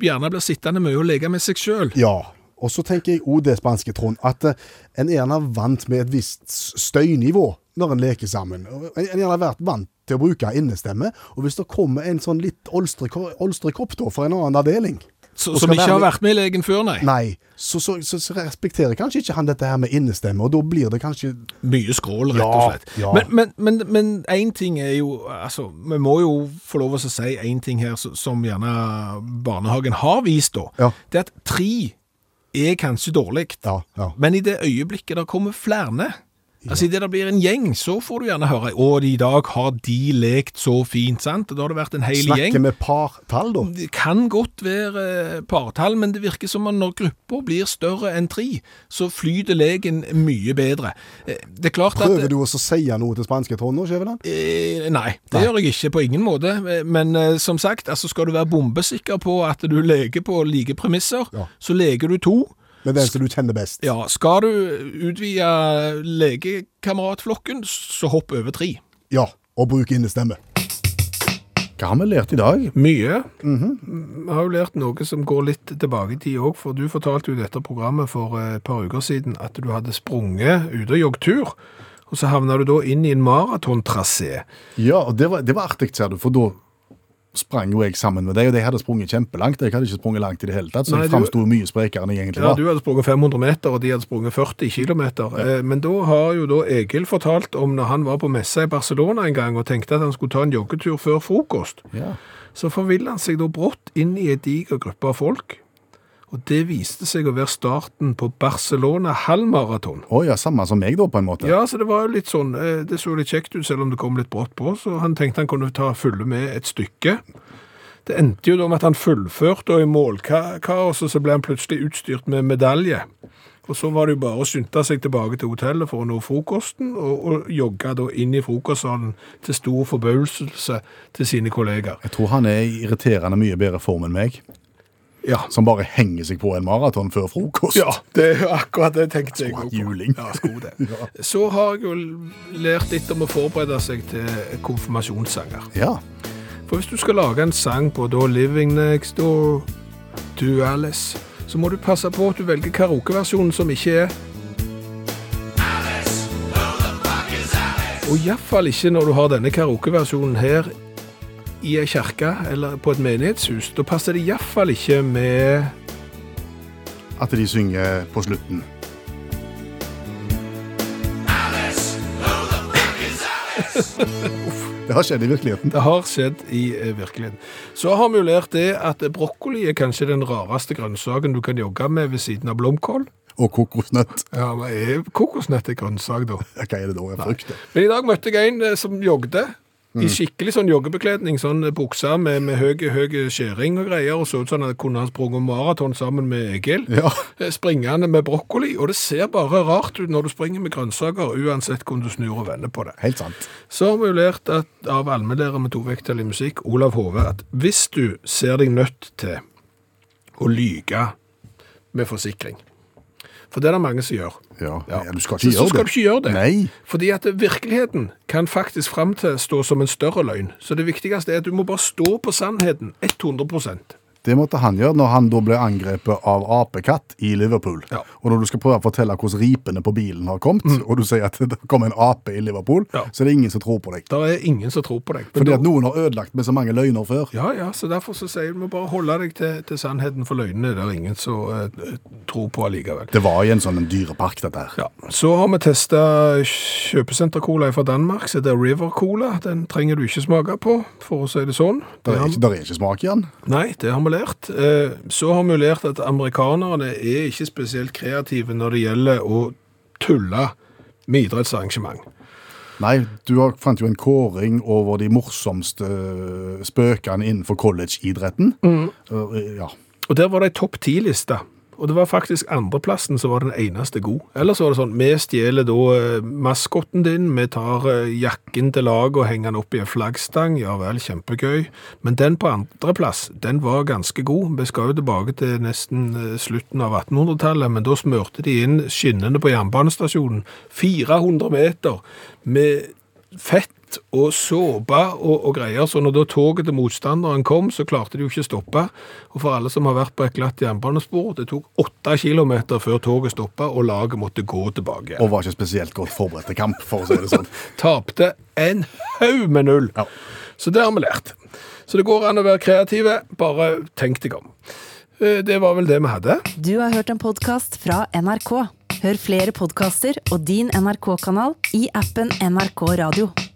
Speaker 8: gjerne blir sittende mye og leke med seg sjøl.
Speaker 3: Ja. Og så tenker jeg òg det, spanske Trond, at eh, en er gjerne vant med et visst støynivå når en leker sammen. Og En en er gjerne vært vant til å bruke innestemme, og hvis det kommer en sånn litt olstrekopp da, fra en annen avdeling Og
Speaker 8: Som
Speaker 3: skal
Speaker 8: ikke har
Speaker 3: være-
Speaker 8: vært med i legen før, nei.
Speaker 3: Nei, så, så, så, så respekterer kanskje ikke han dette her med innestemme, og da blir det kanskje
Speaker 8: Mye skrål, rett
Speaker 3: Ja,
Speaker 8: og slett.
Speaker 3: ja.
Speaker 8: Men- Men én men, men, en ting er jo altså, Vi må jo få lov å si én ting her som, som gjerne barnehagen har vist, da.
Speaker 3: Ja.
Speaker 8: Det er at tre er kanskje dårlig.
Speaker 3: Ja, ja.
Speaker 8: Men i det øyeblikket det kommer flere, altså i det det blir en gjeng, så får du gjerne høre «Å, i dag har de lekt så fint», sant? Og da har det vært en hel
Speaker 3: Snakke
Speaker 8: gjeng.
Speaker 3: med partall, da.
Speaker 8: Det kan godt være eh, partall, men det virker som at når grupper blir større enn tre, så flyter leken mye bedre. Eh, Det er klart at...
Speaker 3: Prøver du også å si noe til spanske Trond nå, Skjæveland?
Speaker 8: Eh, nei, det
Speaker 3: Nei.
Speaker 8: gjør jeg ikke på ingen måte. Eh, Men eh, som sagt, altså skal du være bombesikker på at du leker på like premisser,
Speaker 3: Ja.
Speaker 8: så leker du to.
Speaker 3: Med den som du kjenner best.
Speaker 8: Ja, skal du utvide legekameratflokken, så hopp over tre.
Speaker 3: Ja, og bruk innestemme.
Speaker 6: Hva har vi lært i dag?
Speaker 8: Mye.
Speaker 3: Mhm.
Speaker 8: Vi har jo lært noe som går litt tilbake i tid òg, for du fortalte jo i dette programmet for eh, et par uker siden at du hadde sprunget ute og jogget tur, og så havna du da inn i en maratontrasé.
Speaker 6: Ja, og det var, det var artig, ser du, for da sprang jo jeg sammen med deg, og jeg hadde sprunget kjempelangt. Jeg hadde ikke sprunget langt i det hele tatt, så
Speaker 8: Nei,
Speaker 6: jeg
Speaker 8: du-
Speaker 6: framsto mye sprekere enn jeg egentlig
Speaker 8: Ja,
Speaker 6: var.
Speaker 8: du hadde sprunget 500 meter, og de hadde sprunget 40 kilometer. Eh, Men da har jo da Egil fortalt om når han var på messa i Barcelona en gang og tenkte at han skulle ta en joggetur før frokost.
Speaker 6: Ja.
Speaker 8: Så forvillet han seg da brått inn i en diger gruppe av folk. Og det viste seg å være starten på Barcelona halvmaraton.
Speaker 6: Å ja, samme som meg da, på en måte.
Speaker 8: Ja, så det var jo litt sånn, eh, det så litt kjekt ut selv om det kom litt brått på, så han tenkte han kunne ta følge med et stykke. Det endte jo da med at han fullførte, og i målkaoset så ble han plutselig utstyrt med medalje. Og så var det jo bare å skynde seg tilbake til hotellet for å nå frokosten, og, og jogge da inn i frokostsalen til stor forbauselse til sine kollegaer.
Speaker 6: Jeg tror han er i irriterende mye bedre form enn meg,
Speaker 8: Ja,
Speaker 6: som bare henger seg på en maraton før frokost.
Speaker 8: Ja, det er akkurat det tenkte jeg
Speaker 6: Skulle hatt
Speaker 8: også på.
Speaker 6: juling.
Speaker 8: Ja, skulle det. Så har jeg jo lært litt om å forberede seg til konfirmasjonssanger.
Speaker 6: Ja.
Speaker 8: For hvis du skal lage en sang på da Living Next Door, To Alice, så må du passe på at du velger karaokeversjonen som ikke er Og iallfall ikke når du har denne karaokeversjonen her i ei kirke eller på et menighetshus. Da passer det iallfall ikke med
Speaker 6: At de synger på slutten. Det har skjedd i virkeligheten.
Speaker 8: Det har skjedd i eh, virkeligheten. Så har vi jo lært det at brokkoli er kanskje den rareste grønnsaken du kan jogge med ved siden av blomkål.
Speaker 6: Og kokosnøtt.
Speaker 8: Ja, men er kokosnøtt en grønnsak, da?
Speaker 6: Ja, Hva er det da jeg frykter?
Speaker 8: Men i dag møtte jeg en eh, som jogde. I skikkelig sånn joggebekledning, sånn eh, bukse med, med høy, høy skjæring og greier, og så ut sånn at kunne han sprunget maraton sammen med Egil.
Speaker 6: Ja.
Speaker 8: Eh, Springende med brokkoli, og det ser bare rart ut når du springer med grønnsaker, uansett hvordan du snur og vender på det.
Speaker 6: Helt sant.
Speaker 8: Så har vi jo lært at, av allmennlærer med to vekttall i musikk, Olav Hove, at hvis du ser deg nødt til å lyge med forsikring For det er det mange som gjør.
Speaker 6: Ja,
Speaker 8: Ja.
Speaker 6: ja, Du skal
Speaker 8: Altså, Så,
Speaker 6: ikke
Speaker 8: så
Speaker 6: gjøre
Speaker 8: skal du
Speaker 6: det.
Speaker 8: ikke gjøre det.
Speaker 6: Nei.
Speaker 8: Fordi at virkeligheten kan faktisk framstå som en større løgn. Så det viktigste er at du må bare stå på sannheten 100
Speaker 3: Det måtte han gjøre når han da ble angrepet av apekatt i Liverpool.
Speaker 8: Ja. Mm.
Speaker 3: Og når du skal prøve å fortelle hvordan ripene på bilen har kommet, og du sier at det kom en ape i Liverpool,
Speaker 8: Ja.
Speaker 3: så er det ingen som tror på deg.
Speaker 8: Det er ingen som tror på deg. Men
Speaker 3: Fordi
Speaker 8: da-
Speaker 3: at noen har ødelagt med så mange løgner før.
Speaker 8: Ja, ja, så derfor så sier jeg du må bare holde deg til, til sannheten for løgnene. Det er ingen som eh, tror på allikevel.
Speaker 3: Det var i en sånn en dyrepark, dette her.
Speaker 8: Ja, Så har vi testa kjøpesenter-cola fra Danmark, så det er River Cola. Den trenger du ikke smake på, for å si det sånn.
Speaker 3: Det
Speaker 8: Det
Speaker 3: er
Speaker 8: har-
Speaker 3: ikke, der er ikke smak i den.
Speaker 8: Nei, det har vi lært. Eh, Så har vi lært at amerikanerne er ikke spesielt kreative når det gjelder å tulle med idrettsarrangement.
Speaker 3: Nei, du har, fant jo en kåring over de morsomste øh, spøkene innenfor collegeidretten.
Speaker 8: Mm.
Speaker 3: Øh, Ja.
Speaker 8: Og der var det ei topp ti-liste. Og det var faktisk andreplassen som var den eneste god. Ellers var det sånn, vi stjeler da eh, maskotten din, vi tar eh, jakken til laget og henger den opp i en flaggstang. Ja vel, kjempegøy. Men den på andreplass, den var ganske god. Vi skal jo tilbake til nesten eh, slutten av 1800-tallet, men da smørte de inn skinnene på jernbanestasjonen. 400 meter med fett og såpe og, og greier. Så når da toget til motstanderen kom, så klarte de jo ikke å stoppe. Og for alle som har vært på et glatt jernbanespor, det tok åtte kilometer før toget stoppa, og laget måtte gå tilbake.
Speaker 3: Og var ikke spesielt godt forberedt til kamp, for å si det sånn.
Speaker 8: Tapte en haug med null.
Speaker 3: Ja.
Speaker 8: Så det har vi lært. Så det går an å være kreative, bare tenk deg om. Eh, Det var vel det vi hadde.
Speaker 1: Du har hørt en podkast fra NRK. Hør flere podkaster og din NRK-kanal i appen NRK Radio.